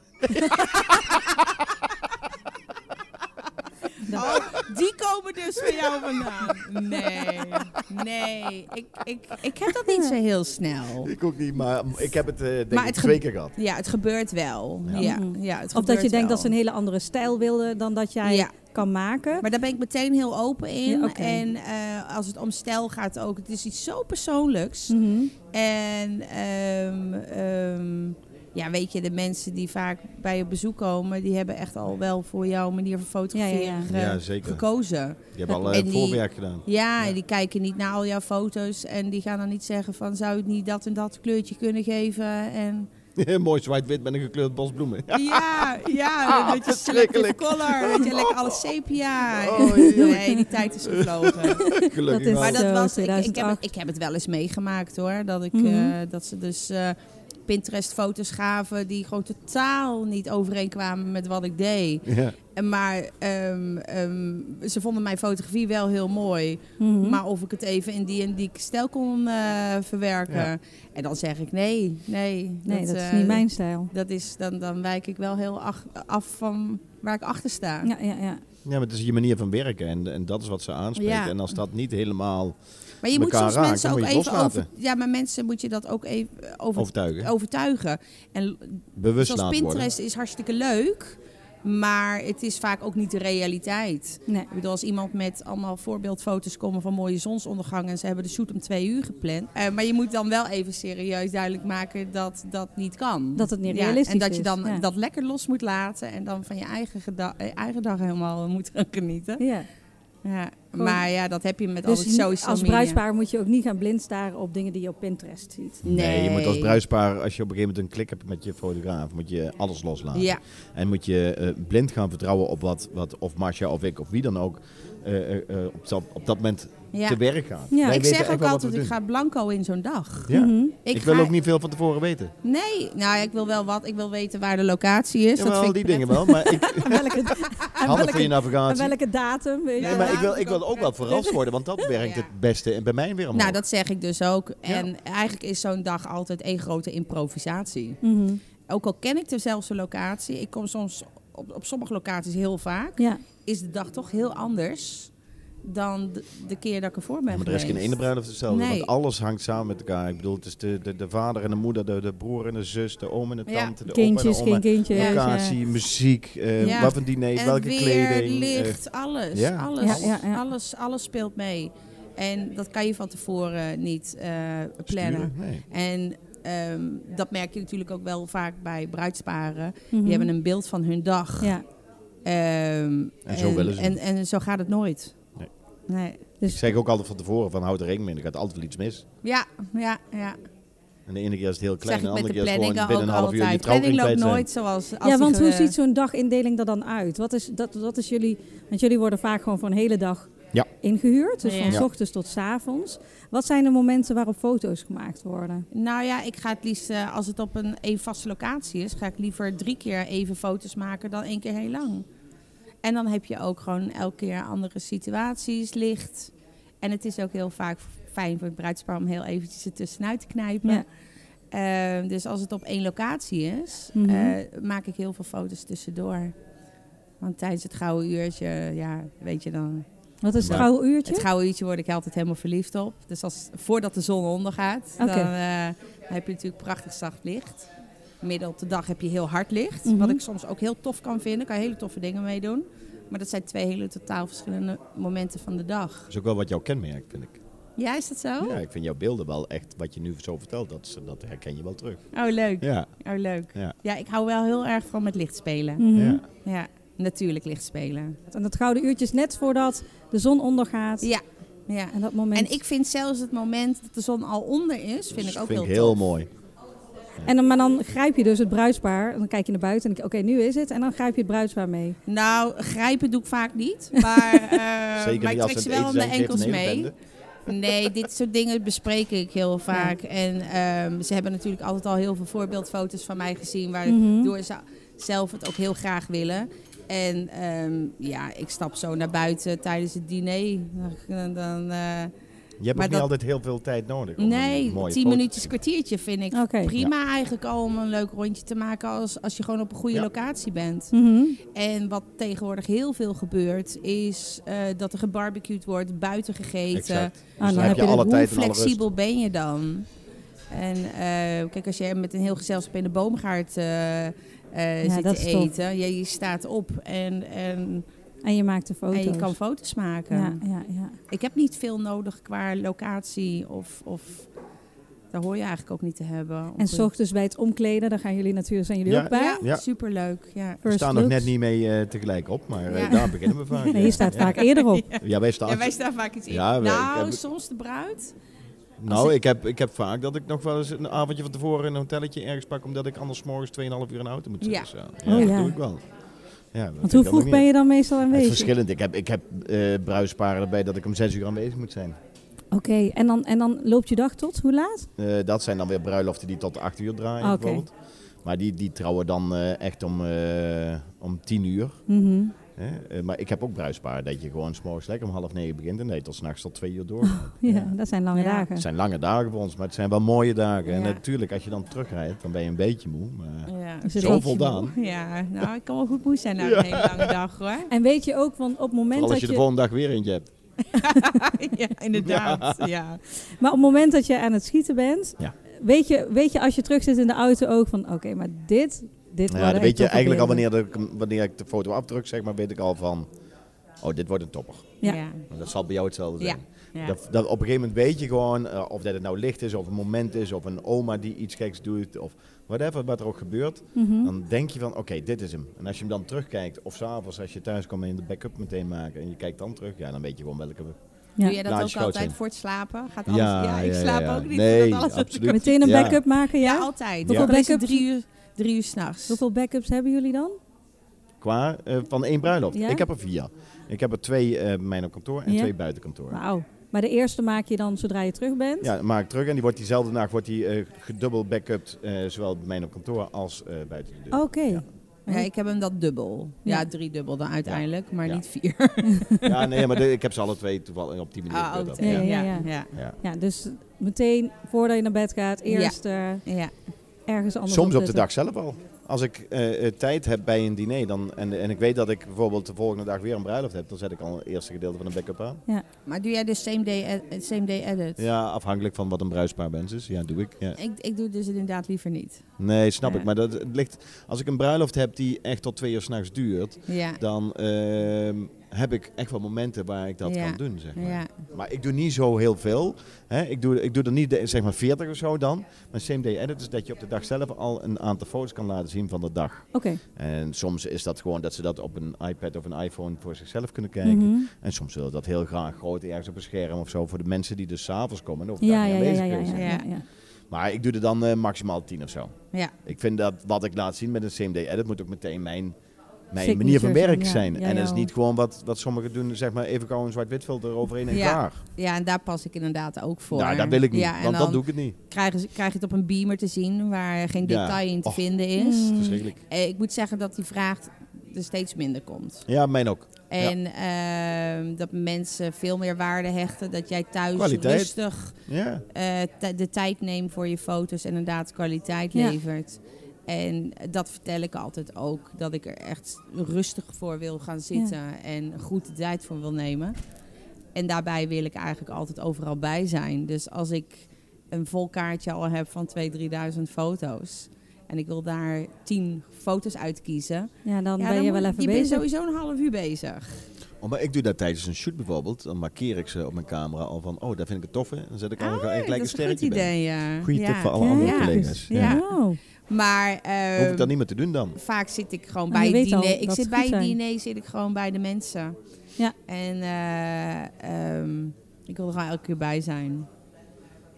[SPEAKER 3] die komen dus bij jou vandaan. Nee, nee. Ik, ik, ik heb dat niet zo heel snel.
[SPEAKER 4] *laughs* Ik ook niet, maar ik heb het eh, denk
[SPEAKER 3] Maar
[SPEAKER 4] ik
[SPEAKER 3] het ge-
[SPEAKER 4] twee keer gehad.
[SPEAKER 3] Ja, het gebeurt wel.
[SPEAKER 4] Ja.
[SPEAKER 3] Ja. Ja,
[SPEAKER 2] Mhm.
[SPEAKER 3] het
[SPEAKER 2] Of dat je
[SPEAKER 3] gebeurt
[SPEAKER 2] denkt dat ze
[SPEAKER 3] wel.
[SPEAKER 2] een hele andere stijl wilden dan dat jij
[SPEAKER 3] Ja,
[SPEAKER 2] kan maken.
[SPEAKER 3] maar daar ben ik meteen heel open in.
[SPEAKER 2] Ja, oké.
[SPEAKER 3] En eh, als het om stijl gaat ook. Het is iets zo persoonlijks.
[SPEAKER 2] Mhm.
[SPEAKER 3] En ehm, ehm, ja, weet je, de mensen die vaak bij je bezoek komen... die hebben echt al wel voor jouw manier van fotograferen
[SPEAKER 2] Ja, ja,
[SPEAKER 3] eh,
[SPEAKER 4] Ja, zeker.
[SPEAKER 3] gekozen.
[SPEAKER 4] Je hebt al eh,
[SPEAKER 3] En die-
[SPEAKER 4] voorwerk gedaan. *laughs*
[SPEAKER 3] Ja,
[SPEAKER 4] Ja.
[SPEAKER 3] en die kijken niet naar al jouw foto's en die gaan dan niet zeggen van zou je het niet dat en dat kleurtje kunnen geven en
[SPEAKER 4] Mooi zwart-wit met een gekleurd bos bloemen.
[SPEAKER 3] ja, Ah, ja, dat je
[SPEAKER 4] verschrikkelijk.
[SPEAKER 3] selective color, weet je, lekker alles sepia.
[SPEAKER 4] Oh, heerlijk.
[SPEAKER 3] nee, die tijd is *laughs* gevlogen.
[SPEAKER 4] Gelukkig
[SPEAKER 2] Dat is-
[SPEAKER 4] wel.
[SPEAKER 3] Maar *laughs* dat
[SPEAKER 2] Zo,
[SPEAKER 3] was, ik, ik, heb,
[SPEAKER 2] 2008.
[SPEAKER 3] ik heb het wel eens meegemaakt hoor, dat ik,
[SPEAKER 2] Mhm.
[SPEAKER 3] eh, dat ze dus eh, Pinterest foto's gaven die gewoon totaal niet overeenkwamen met wat ik deed.
[SPEAKER 4] Ja.
[SPEAKER 3] En Maar ehm, ehm, ze vonden mijn fotografie wel heel mooi.
[SPEAKER 2] Mhm.
[SPEAKER 3] Maar of ik het even in die en die stijl kon eh, verwerken.
[SPEAKER 4] Ja.
[SPEAKER 3] En dan zeg ik nee, nee.
[SPEAKER 2] nee, dat is
[SPEAKER 3] eh,
[SPEAKER 2] niet mijn stijl.
[SPEAKER 3] Dat is, dan, dan wijk ik wel heel ach- af van waar ik achter sta.
[SPEAKER 2] Ja, ja, ja.
[SPEAKER 4] ja, maar het is je manier van werken en, en dat is wat ze aanspreekt.
[SPEAKER 3] Ja.
[SPEAKER 4] En als dat niet helemaal
[SPEAKER 3] Maar je moet
[SPEAKER 4] elkaar
[SPEAKER 3] soms
[SPEAKER 4] raakt,
[SPEAKER 3] mensen
[SPEAKER 4] dan
[SPEAKER 3] ook
[SPEAKER 4] moet je
[SPEAKER 3] even
[SPEAKER 4] loslaten.
[SPEAKER 3] over, Ja, maar mensen moet je dat ook even eh, over,
[SPEAKER 4] overtuigen,
[SPEAKER 3] overtuigen. En
[SPEAKER 4] bewust
[SPEAKER 3] zoals
[SPEAKER 4] laten
[SPEAKER 3] Pinterest
[SPEAKER 4] worden.
[SPEAKER 3] is hartstikke leuk. Maar het is vaak ook niet de realiteit.
[SPEAKER 2] Nee.
[SPEAKER 3] Ik bedoel, als iemand met allemaal voorbeeldfoto's komen van mooie zonsondergangen en ze hebben de shoot om twee uur gepland. Eh, maar je moet dan wel even serieus duidelijk maken dat dat niet kan.
[SPEAKER 2] Dat het niet
[SPEAKER 3] Ja,
[SPEAKER 2] realistisch
[SPEAKER 3] En
[SPEAKER 2] is,
[SPEAKER 3] dat je dan
[SPEAKER 2] ja.
[SPEAKER 3] dat lekker los moet laten en dan van je eigen, geda- eh, eigen dag helemaal *laughs* moet gaan genieten.
[SPEAKER 2] Ja.
[SPEAKER 3] Ja.
[SPEAKER 2] Gewoon-
[SPEAKER 3] Maar ja, dat heb je met al
[SPEAKER 2] Dus
[SPEAKER 3] het
[SPEAKER 2] niet-
[SPEAKER 3] social
[SPEAKER 2] als
[SPEAKER 3] media.
[SPEAKER 2] bruidspaar moet je ook niet gaan blind staren op dingen die je op Pinterest ziet.
[SPEAKER 4] Nee. je moet als bruidspaar, als je op een gegeven moment een klik hebt met je fotograaf, moet je alles loslaten.
[SPEAKER 3] Ja,
[SPEAKER 4] En moet je eh, blind gaan vertrouwen op wat, wat of Marcia of ik of wie dan ook eh, eh, eh, op, dat, op dat moment
[SPEAKER 3] ja.
[SPEAKER 4] te werk gaat.
[SPEAKER 2] Ja.
[SPEAKER 4] Wij
[SPEAKER 3] ik
[SPEAKER 4] weten
[SPEAKER 3] zeg
[SPEAKER 4] echt
[SPEAKER 3] ook
[SPEAKER 4] wel wat
[SPEAKER 3] altijd,
[SPEAKER 4] we
[SPEAKER 3] ik
[SPEAKER 4] doen.
[SPEAKER 3] ga blanco in zo'n dag.
[SPEAKER 4] Ja.
[SPEAKER 2] Mhm.
[SPEAKER 4] Ik, wil
[SPEAKER 3] ga-
[SPEAKER 4] ook niet veel van tevoren weten.
[SPEAKER 3] Nee, nou ja, ik wil wel wat. Ik wil weten waar de locatie is. dat
[SPEAKER 4] Jawel,
[SPEAKER 3] vind
[SPEAKER 4] die
[SPEAKER 3] ik
[SPEAKER 4] dingen wel, maar
[SPEAKER 3] *laughs*
[SPEAKER 4] ik,
[SPEAKER 2] En welke, en
[SPEAKER 4] handig
[SPEAKER 2] welke,
[SPEAKER 4] voor je
[SPEAKER 2] en
[SPEAKER 4] navigatie.
[SPEAKER 2] welke datum? Weet je
[SPEAKER 4] Nee,
[SPEAKER 2] wel.
[SPEAKER 4] maar ik wil,
[SPEAKER 3] Daarom
[SPEAKER 4] ik wil ook wel
[SPEAKER 3] *laughs*
[SPEAKER 4] verrast worden, want dat werkt
[SPEAKER 3] Ja.
[SPEAKER 4] het beste en bij mij weer omhoog.
[SPEAKER 3] Nou, dat zeg ik dus ook. En eigenlijk is zo'n dag altijd één grote improvisatie.
[SPEAKER 2] Mhm.
[SPEAKER 3] Ook al ken ik dezelfde locatie, ik kom soms op, op sommige locaties heel vaak,
[SPEAKER 2] Ja.
[SPEAKER 3] is de dag toch heel anders dan de, de keer dat ik ervoor ben
[SPEAKER 4] Ja, maar er is geen
[SPEAKER 3] geweest.
[SPEAKER 4] ene bruiloft hetzelfde,
[SPEAKER 3] Nee.
[SPEAKER 4] want alles hangt samen met elkaar. Ik bedoel, het is de, de, de vader en de moeder, de, de broer en de zus, de oom en de
[SPEAKER 3] Ja.
[SPEAKER 4] tante, de
[SPEAKER 2] Kindjes,
[SPEAKER 4] opa en de oma.
[SPEAKER 2] geen kindjes. Mhm.
[SPEAKER 3] Ja.
[SPEAKER 4] Locatie, muziek, eh,
[SPEAKER 3] Ja.
[SPEAKER 4] wat een diner,
[SPEAKER 3] en
[SPEAKER 4] welke
[SPEAKER 3] weer,
[SPEAKER 4] kleding. eh,
[SPEAKER 3] licht, alles,
[SPEAKER 4] ja.
[SPEAKER 3] alles,
[SPEAKER 2] Ja, ja, ja.
[SPEAKER 3] alles. Alles speelt mee. En dat kan je van tevoren niet eh, plannen.
[SPEAKER 4] sturen. Nee.
[SPEAKER 3] En ehm, dat merk je natuurlijk ook wel vaak bij bruidsparen.
[SPEAKER 2] Mhm.
[SPEAKER 3] Die hebben een beeld van hun dag.
[SPEAKER 2] Ja.
[SPEAKER 3] Ehm,
[SPEAKER 4] En zo willen ze
[SPEAKER 3] en, en zo gaat het nooit.
[SPEAKER 4] Nee.
[SPEAKER 3] Nee.
[SPEAKER 4] Ik zeg ook altijd van tevoren, van houd er rekening mee, er gaat altijd wel iets mis.
[SPEAKER 3] Ja, ja, ja.
[SPEAKER 4] En de ene keer is het heel
[SPEAKER 3] Dat zeg
[SPEAKER 4] klein, en
[SPEAKER 3] ik
[SPEAKER 4] de
[SPEAKER 3] met de
[SPEAKER 4] andere keer is het gewoon
[SPEAKER 3] planningen ook
[SPEAKER 4] binnen een half uur die
[SPEAKER 3] altijd. Planning
[SPEAKER 4] trouwring
[SPEAKER 3] loopt
[SPEAKER 4] kwijt zijn.
[SPEAKER 3] nooit zoals... Als
[SPEAKER 2] Ja,
[SPEAKER 3] die
[SPEAKER 2] want hoe
[SPEAKER 3] ge-
[SPEAKER 2] ziet zo'n dagindeling er dan uit? Wat is, dat, dat is jullie, want jullie worden vaak gewoon voor een hele dag
[SPEAKER 4] Ja.
[SPEAKER 2] ingehuurd. Dus
[SPEAKER 3] Ja.
[SPEAKER 2] van s
[SPEAKER 4] Ja.
[SPEAKER 2] ochtends tot s avonds. Wat zijn de momenten waarop foto's gemaakt worden?
[SPEAKER 3] Nou ja, ik ga het liefst, eh, als het op een, een vaste locatie is, ga ik liever drie keer even foto's maken dan één keer heel lang. En dan heb je ook gewoon elke keer andere situaties, licht. En het is ook heel vaak fijn voor het bruidspaar om heel eventjes er tussenuit te knijpen.
[SPEAKER 2] Ja.
[SPEAKER 3] Eh, dus als het op één locatie is,
[SPEAKER 2] Mhm.
[SPEAKER 3] eh, maak ik heel veel foto's tussendoor. Want tijdens het gouden uurtje, ja, weet je dan.
[SPEAKER 2] Wat is het
[SPEAKER 4] Maar-
[SPEAKER 2] gouden uurtje?
[SPEAKER 3] Het gouden uurtje word ik altijd helemaal verliefd op. Dus als, voordat de zon ondergaat,
[SPEAKER 2] Oké.
[SPEAKER 3] dan eh, heb je natuurlijk prachtig zacht licht. Midden op de dag heb je heel hard licht.
[SPEAKER 2] Mhm.
[SPEAKER 3] Wat ik soms ook heel tof kan vinden. Kan je hele toffe dingen mee doen. Maar dat zijn twee hele totaal verschillende momenten van de dag.
[SPEAKER 4] Dat is ook wel wat jou kenmerkt, vind ik.
[SPEAKER 3] Ja, is dat zo?
[SPEAKER 4] Ja, ik vind jouw beelden wel echt, wat je nu zo vertelt, dat, is- dat herken je wel terug.
[SPEAKER 3] Oh, leuk.
[SPEAKER 4] Ja,
[SPEAKER 3] Oh, leuk.
[SPEAKER 4] Ja.
[SPEAKER 3] ik hou wel heel erg van met licht spelen.
[SPEAKER 2] Mhm.
[SPEAKER 4] ja.
[SPEAKER 3] Ja, natuurlijk licht spelen.
[SPEAKER 2] En dat gouden uurtje is net voordat de zon ondergaat.
[SPEAKER 3] Ja, ja.
[SPEAKER 2] En dat moment.
[SPEAKER 3] En ik vind zelfs het moment dat de zon al onder is, vind ik ook
[SPEAKER 4] Dus vind
[SPEAKER 3] heel,
[SPEAKER 4] ik heel
[SPEAKER 3] tof. Eh,
[SPEAKER 4] mooi.
[SPEAKER 2] En dan, maar dan grijp je dus het bruidspaar. Dan kijk je naar buiten en denk je, oké, nu is het. En dan grijp je het bruidspaar mee.
[SPEAKER 3] Nou, grijpen doe ik vaak niet.
[SPEAKER 4] *laughs*
[SPEAKER 3] Maar, eh,
[SPEAKER 4] Zeker
[SPEAKER 3] maar ik
[SPEAKER 4] niet als
[SPEAKER 3] trek
[SPEAKER 4] ze
[SPEAKER 3] ze
[SPEAKER 4] aan
[SPEAKER 3] wel
[SPEAKER 4] het
[SPEAKER 3] aan
[SPEAKER 4] eten
[SPEAKER 3] de enkels
[SPEAKER 4] zijn, geeft een hele
[SPEAKER 3] mee.
[SPEAKER 4] bende. *laughs*
[SPEAKER 3] Nee, dit soort dingen bespreek ik heel vaak. En ehm, ze hebben natuurlijk altijd al heel veel voorbeeldfoto's van mij gezien.
[SPEAKER 2] Mhm.
[SPEAKER 3] Waardoor ze zelf het ook heel graag willen. En ehm, ja, ik stap zo naar buiten tijdens het diner. Dan, dan, eh,
[SPEAKER 4] Je hebt
[SPEAKER 3] Maar
[SPEAKER 4] ook niet
[SPEAKER 3] dat-
[SPEAKER 4] altijd heel veel tijd nodig. om een
[SPEAKER 3] nee,
[SPEAKER 4] mooie
[SPEAKER 3] tien
[SPEAKER 4] foto-
[SPEAKER 3] minuutjes, kwartiertje vind ik
[SPEAKER 2] Oké.
[SPEAKER 3] prima eigenlijk al om een leuk rondje te maken als, als je gewoon op een goede
[SPEAKER 4] Ja.
[SPEAKER 3] locatie bent.
[SPEAKER 2] Mhm.
[SPEAKER 3] En wat tegenwoordig heel veel gebeurt, is eh, dat er gebarbecued wordt, buiten gegeten.
[SPEAKER 4] Exact. Dus
[SPEAKER 2] Ah, dan
[SPEAKER 4] dan
[SPEAKER 2] heb
[SPEAKER 4] heb
[SPEAKER 2] je
[SPEAKER 4] je
[SPEAKER 2] de-
[SPEAKER 4] alle
[SPEAKER 2] hoe
[SPEAKER 4] tijd en alle rust.
[SPEAKER 3] Flexibel ben je dan. En eh, kijk, als je met een heel gezelschap in de boomgaard eh, eh, zit
[SPEAKER 2] dat
[SPEAKER 3] te
[SPEAKER 2] is tof.
[SPEAKER 3] eten, je, je staat op en, en,
[SPEAKER 2] En je maakt de foto's.
[SPEAKER 3] en je kan foto's maken.
[SPEAKER 2] ja, ja, ja.
[SPEAKER 3] Ik heb niet veel nodig qua locatie of, of daar hoor je eigenlijk ook niet te hebben.
[SPEAKER 2] En s ochtends bij het omkleden, daar gaan jullie natuurlijk, zijn jullie
[SPEAKER 4] Ja.
[SPEAKER 2] ook bij.
[SPEAKER 3] ja,
[SPEAKER 4] Ja.
[SPEAKER 3] superleuk. Ja.
[SPEAKER 4] We
[SPEAKER 2] First
[SPEAKER 4] staan nog
[SPEAKER 2] looks.
[SPEAKER 4] net niet mee eh, tegelijk op, maar eh,
[SPEAKER 3] Ja.
[SPEAKER 4] daar beginnen we
[SPEAKER 3] *laughs*
[SPEAKER 4] vaak.
[SPEAKER 2] Nee, je staat
[SPEAKER 4] ja.
[SPEAKER 2] vaak eerder
[SPEAKER 4] *laughs*
[SPEAKER 2] op.
[SPEAKER 4] Ja, wij staan.
[SPEAKER 3] Ja, wij staan vaak iets in.
[SPEAKER 4] Ja, wij-
[SPEAKER 3] nou,
[SPEAKER 4] ik heb-
[SPEAKER 3] soms de bruid. als
[SPEAKER 4] Nou, ik heb, ik heb vaak dat ik nog wel eens een avondje van tevoren een hotelletje ergens pak, omdat ik anders 's morgens 2,5 uur in de auto moet zitten.
[SPEAKER 3] Ja.
[SPEAKER 4] Zo.
[SPEAKER 2] Oh,
[SPEAKER 4] dat
[SPEAKER 2] ja.
[SPEAKER 4] doe ik wel. Ja, dat
[SPEAKER 2] Want
[SPEAKER 4] vind
[SPEAKER 2] hoe
[SPEAKER 4] ik dan
[SPEAKER 2] vroeg
[SPEAKER 4] nog
[SPEAKER 2] ben
[SPEAKER 4] niet-
[SPEAKER 2] je dan meestal
[SPEAKER 4] Het is
[SPEAKER 2] aanwezig?
[SPEAKER 4] verschillend. Ik heb, ik heb eh, bruisparen erbij dat ik om 6 uur aanwezig moet zijn.
[SPEAKER 2] Oké, en, dan, en dan loopt je dag tot hoe laat?
[SPEAKER 4] Eh, dat zijn dan weer bruiloften die tot 8 uur draaien
[SPEAKER 2] Oké.
[SPEAKER 4] bijvoorbeeld. Maar die, die trouwen dan eh, echt om, eh, om 10 uur.
[SPEAKER 2] Mhm.
[SPEAKER 4] Hè? Eh, maar ik heb ook bruisparen dat je gewoon 's morgens lekker om half negen begint en dat je tot s'nachts tot 2 uur door.
[SPEAKER 2] ja,
[SPEAKER 4] Ja.
[SPEAKER 2] dat zijn lange
[SPEAKER 3] Ja.
[SPEAKER 2] dagen.
[SPEAKER 4] Het zijn lange dagen voor ons, maar het zijn wel mooie dagen. En
[SPEAKER 3] Ja.
[SPEAKER 4] natuurlijk, als je dan terugrijdt, dan ben je een beetje moe. Maar
[SPEAKER 3] Ja,
[SPEAKER 2] Is het
[SPEAKER 4] zo
[SPEAKER 2] wel-
[SPEAKER 4] voldaan.
[SPEAKER 3] Ja, nou, ik kan wel goed moe zijn na een hele lange dag
[SPEAKER 4] *laughs*
[SPEAKER 3] hoor. *laughs*
[SPEAKER 2] En weet je ook, want op het moment
[SPEAKER 4] Vooral
[SPEAKER 2] dat
[SPEAKER 4] als je de
[SPEAKER 2] je,
[SPEAKER 4] volgende dag weer eentje hebt.
[SPEAKER 3] ja, inderdaad. Ja.
[SPEAKER 2] maar op het moment dat je aan het schieten bent,
[SPEAKER 4] Ja.
[SPEAKER 2] weet, je, weet je als je terug zit in de auto ook van, oké, maar dit dit
[SPEAKER 4] Ja,
[SPEAKER 2] word
[SPEAKER 4] dan
[SPEAKER 2] ik
[SPEAKER 4] weet je
[SPEAKER 2] toch
[SPEAKER 4] eigenlijk al
[SPEAKER 2] proberen.
[SPEAKER 4] wanneer, de, wanneer ik de foto afdruk, zeg maar, weet ik al van... Oh, dit wordt een topper.
[SPEAKER 2] Ja.
[SPEAKER 3] ja.
[SPEAKER 4] Maar Dat zal bij jou hetzelfde
[SPEAKER 3] Ja.
[SPEAKER 4] zijn.
[SPEAKER 3] ja.
[SPEAKER 4] Dat, dat op een gegeven moment weet je gewoon eh, of dat het nou licht is, of een moment is, of een oma die iets geks doet, of whatever, wat er ook gebeurt.
[SPEAKER 2] Mhm.
[SPEAKER 4] Dan denk je van, oké, dit is hem. En als je hem dan terugkijkt, of s'avonds als je thuis komt en je de backup meteen maken en je kijkt dan terug, ja, dan weet je gewoon welke...
[SPEAKER 2] Ja.
[SPEAKER 3] Doe jij dat
[SPEAKER 4] Laat je
[SPEAKER 3] ook altijd
[SPEAKER 4] schoot Nou, zijn.
[SPEAKER 3] voor het slapen? Gaat alles, ja, ik slaap
[SPEAKER 4] ja, ja.
[SPEAKER 3] ook niet
[SPEAKER 4] Nee,
[SPEAKER 3] voordat alles op de
[SPEAKER 4] absoluut.
[SPEAKER 2] Meteen een
[SPEAKER 4] Ja.
[SPEAKER 2] backup maken, ja?
[SPEAKER 3] Ja, altijd.
[SPEAKER 4] Hoeveel
[SPEAKER 3] Dan is het
[SPEAKER 2] backups-
[SPEAKER 3] Drie uur, drie uur s'nachts.
[SPEAKER 2] Hoeveel backups hebben jullie dan?
[SPEAKER 4] Qua eh, van één bruiloft.
[SPEAKER 2] Ja?
[SPEAKER 4] Ik heb er vier. Ik heb er twee eh, bij mij op kantoor en
[SPEAKER 2] Ja?
[SPEAKER 4] twee buiten kantoor.
[SPEAKER 2] Wauw. Maar de eerste maak je dan zodra je terug bent?
[SPEAKER 4] Ja, dan maak ik terug en die wordt diezelfde nacht wordt die, eh gedubbel backupt, eh, zowel bij mij op kantoor als eh, buiten de deur.
[SPEAKER 2] Oké.
[SPEAKER 4] Ja.
[SPEAKER 3] Ja, ik heb hem dat dubbel.
[SPEAKER 2] Ja.
[SPEAKER 3] Ja, drie dubbel dan uiteindelijk, maar
[SPEAKER 4] Ja.
[SPEAKER 3] niet vier.
[SPEAKER 4] Ja, nee, maar de- ik heb ze alle twee toevallig eh, op die
[SPEAKER 3] *laughs*
[SPEAKER 4] manier.
[SPEAKER 3] Ah,
[SPEAKER 4] gebeurd
[SPEAKER 3] ook
[SPEAKER 4] dat.
[SPEAKER 3] twee.
[SPEAKER 2] Ja,
[SPEAKER 4] Ja.
[SPEAKER 2] ja, ja.
[SPEAKER 3] ja.
[SPEAKER 4] Ja.
[SPEAKER 2] Ja, dus meteen voordat je naar bed gaat, eerst eh,
[SPEAKER 3] ja.
[SPEAKER 2] ergens anders dus
[SPEAKER 4] Soms op de
[SPEAKER 2] opzetten.
[SPEAKER 4] dag zelf al. Als ik eh, eh, tijd heb bij een diner dan, en, en ik weet dat ik bijvoorbeeld de volgende dag weer een bruiloft heb, dan zet ik al het eerste gedeelte van een backup aan.
[SPEAKER 3] Maar doe jij dus same day, ed- same day edit?
[SPEAKER 4] Ja, afhankelijk van wat een bruidspaar wens is. Ja, doe ik. Ja.
[SPEAKER 3] Ik, ik doe het dus inderdaad liever niet.
[SPEAKER 4] Nee, snap
[SPEAKER 3] Ja.
[SPEAKER 4] ik. Maar dat het ligt, als ik een bruiloft heb die echt tot twee uur s'nachts duurt,
[SPEAKER 3] Ja.
[SPEAKER 4] dan ehm, heb ik echt wel momenten waar ik dat
[SPEAKER 3] Ja.
[SPEAKER 4] kan doen. Zeg maar.
[SPEAKER 3] Ja.
[SPEAKER 4] Maar ik doe niet zo heel veel. Hè. Ik, doe, ik doe er niet de- zeg maar 40 of zo dan. Maar same day edit is dat je op de dag zelf al een aantal foto's kan laten zien van de dag.
[SPEAKER 2] Oké.
[SPEAKER 4] En soms is dat gewoon dat ze dat op een iPad of een iPhone voor zichzelf kunnen kijken.
[SPEAKER 2] Mhm.
[SPEAKER 4] En soms willen ze dat heel graag groot ergens op een scherm of zo. Voor de mensen die dus s'avonds komen en of
[SPEAKER 2] Ja,
[SPEAKER 4] daar
[SPEAKER 2] ja,
[SPEAKER 4] niet
[SPEAKER 2] ja, ja,
[SPEAKER 4] aanwezig
[SPEAKER 2] ja,
[SPEAKER 4] kunnen
[SPEAKER 2] ja,
[SPEAKER 4] zijn.
[SPEAKER 2] ja, ja.
[SPEAKER 4] Maar ik doe er dan eh, maximaal 10 of zo.
[SPEAKER 3] Ja.
[SPEAKER 4] Ik vind dat wat ik laat zien met een CMD edit moet ook meteen mijn, mijn
[SPEAKER 2] Signature
[SPEAKER 4] manier van werk
[SPEAKER 2] zijn,
[SPEAKER 4] zijn.
[SPEAKER 2] ja. Ja,
[SPEAKER 4] en dat
[SPEAKER 2] ja.
[SPEAKER 4] is niet gewoon wat, wat sommigen doen, zeg maar even gauw een zwart-wit filter overheen en
[SPEAKER 3] Ja,
[SPEAKER 4] klaar.
[SPEAKER 3] ja, en daar pas ik inderdaad ook voor.
[SPEAKER 4] Nou, dat wil ik niet,
[SPEAKER 3] Ja, en
[SPEAKER 4] want
[SPEAKER 3] dan Mm.
[SPEAKER 4] dat doe ik het niet.
[SPEAKER 3] Krijgen ze- krijg je het op een beamer te zien waar geen
[SPEAKER 4] Ja.
[SPEAKER 3] detail in te
[SPEAKER 4] Och.
[SPEAKER 3] vinden is.
[SPEAKER 2] Mm.
[SPEAKER 4] Verschrikkelijk.
[SPEAKER 3] Eh, Ik moet zeggen dat die vraag er steeds minder komt.
[SPEAKER 4] Ja, mijn ook.
[SPEAKER 3] En ehm, dat mensen veel meer waarde hechten. Dat jij thuis
[SPEAKER 4] Kwaliteit.
[SPEAKER 3] rustig
[SPEAKER 4] Ja.
[SPEAKER 3] eh, t- de tijd neem voor je foto's en inderdaad kwaliteit
[SPEAKER 2] Ja.
[SPEAKER 3] levert. En dat vertel ik altijd ook, dat ik er echt rustig voor wil gaan zitten en goed de tijd voor wil nemen. En daarbij wil ik eigenlijk altijd overal bij zijn. Dus als ik een vol kaartje al heb van 2.000, 3.000 foto's en ik wil daar 10 foto's uitkiezen,
[SPEAKER 2] Ja, dan
[SPEAKER 3] ja,
[SPEAKER 2] ben
[SPEAKER 3] dan
[SPEAKER 2] je
[SPEAKER 3] moet-
[SPEAKER 2] wel even
[SPEAKER 3] je bent
[SPEAKER 2] bezig.
[SPEAKER 3] sowieso een half uur bezig.
[SPEAKER 4] Oh, maar ik doe dat tijdens een shoot bijvoorbeeld. Dan markeer ik ze op mijn camera al van, oh, dat vind ik het toffe. Dan zet ik al gelijk
[SPEAKER 3] Ah, dat
[SPEAKER 4] een
[SPEAKER 3] is een goed
[SPEAKER 4] sterretje bij.
[SPEAKER 3] idee, ja.
[SPEAKER 4] Goeie tip
[SPEAKER 3] Ja.
[SPEAKER 4] voor alle
[SPEAKER 2] Ja.
[SPEAKER 4] andere
[SPEAKER 3] Ja.
[SPEAKER 4] collega's. Ja.
[SPEAKER 3] Ja.
[SPEAKER 2] Wow.
[SPEAKER 3] Maar,
[SPEAKER 4] Hoef ik
[SPEAKER 3] ehm,
[SPEAKER 4] dat niet meer te doen dan.
[SPEAKER 3] vaak zit ik gewoon
[SPEAKER 2] Ah,
[SPEAKER 3] bij
[SPEAKER 2] je
[SPEAKER 3] het
[SPEAKER 2] weet al
[SPEAKER 3] diner. ik
[SPEAKER 2] dat
[SPEAKER 3] zit
[SPEAKER 2] ze
[SPEAKER 3] bij
[SPEAKER 2] goed
[SPEAKER 3] het
[SPEAKER 2] zijn.
[SPEAKER 3] diner, zit ik gewoon bij de mensen.
[SPEAKER 2] Ja.
[SPEAKER 3] En eh, ehm, ik wil er gewoon elke keer bij zijn.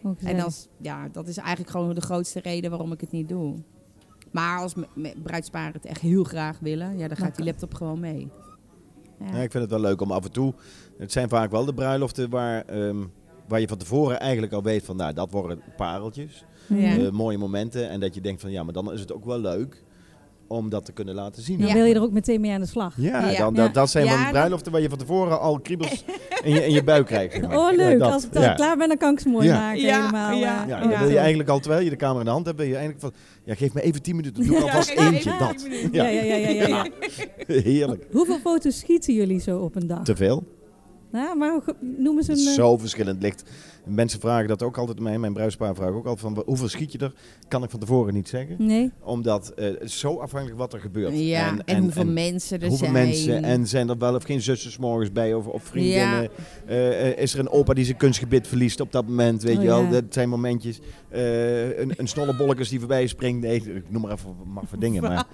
[SPEAKER 2] Ook
[SPEAKER 3] En
[SPEAKER 2] gezellig.
[SPEAKER 3] als, ja, dat is eigenlijk gewoon de grootste reden waarom ik het niet doe. Maar als me- me- bruidsparen het echt heel graag willen, ja, dan gaat die laptop gewoon mee. Ja.
[SPEAKER 4] Ja, ik vind het wel leuk om af en toe. Het zijn vaak wel de bruiloften waar, ehm, waar je van tevoren eigenlijk al weet van, nou, dat worden pareltjes.
[SPEAKER 2] Mhm.
[SPEAKER 3] Ja.
[SPEAKER 4] eh, mooie momenten. En dat je denkt van, ja, maar dan is het ook wel leuk om dat te kunnen laten zien.
[SPEAKER 2] Dan
[SPEAKER 3] Ja.
[SPEAKER 2] wil je er ook meteen mee aan de slag.
[SPEAKER 4] Ja,
[SPEAKER 3] Ja.
[SPEAKER 4] Dan, dat, dat zijn
[SPEAKER 3] Ja,
[SPEAKER 4] wel die
[SPEAKER 3] dat-
[SPEAKER 4] bruiloften waar je van tevoren al kriebels in je, in je buik krijgt. zeg maar.
[SPEAKER 2] Oh, leuk.
[SPEAKER 4] Dat-
[SPEAKER 2] als ik dan
[SPEAKER 4] ja.
[SPEAKER 2] klaar ben, dan kan ik ze mooi
[SPEAKER 4] Ja.
[SPEAKER 2] maken
[SPEAKER 3] Ja,
[SPEAKER 2] helemaal.
[SPEAKER 3] ja,
[SPEAKER 2] eh,
[SPEAKER 4] Ja,
[SPEAKER 3] Ja.
[SPEAKER 4] dan wil je
[SPEAKER 2] ja.
[SPEAKER 4] eigenlijk al, terwijl je de camera in de hand hebt, wil je eigenlijk van, ja, geef me even 10 minuten, doe ik
[SPEAKER 2] Ja,
[SPEAKER 4] alvast
[SPEAKER 3] geef me
[SPEAKER 4] eentje,
[SPEAKER 3] even
[SPEAKER 4] dat.
[SPEAKER 3] 10 minuten.
[SPEAKER 2] Ja, ja, ja, ja, ja, ja.
[SPEAKER 4] Heerlijk.
[SPEAKER 2] Hoeveel foto's schieten jullie zo op een dag?
[SPEAKER 4] Te veel.
[SPEAKER 2] Nou, maar hoe- noem eens een...
[SPEAKER 4] Het is
[SPEAKER 2] eh,
[SPEAKER 4] zo verschillend ligt. Mensen vragen dat ook altijd mij. Mijn bruidspaar vraagt ook altijd van "Wa- hoeveel schiet je er? Kan ik van tevoren niet zeggen.
[SPEAKER 2] Nee?
[SPEAKER 4] Omdat eh, het is zo afhankelijk wat er gebeurt.
[SPEAKER 3] Ja, en, hoeveel mensen er
[SPEAKER 4] hoeveel
[SPEAKER 3] zijn.
[SPEAKER 4] mensen en zijn er wel of geen zussen 's morgens bij of, of vriendinnen?
[SPEAKER 3] Ja.
[SPEAKER 4] Eh, eh, is er een opa die zijn kunstgebit verliest op dat moment? Weet
[SPEAKER 2] Oh,
[SPEAKER 4] je wel,
[SPEAKER 2] ja.
[SPEAKER 4] dat zijn momentjes. Eh, een, een snolle bollekes die voorbij springt. Nee, ik noem maar even maar voor dingen. Maar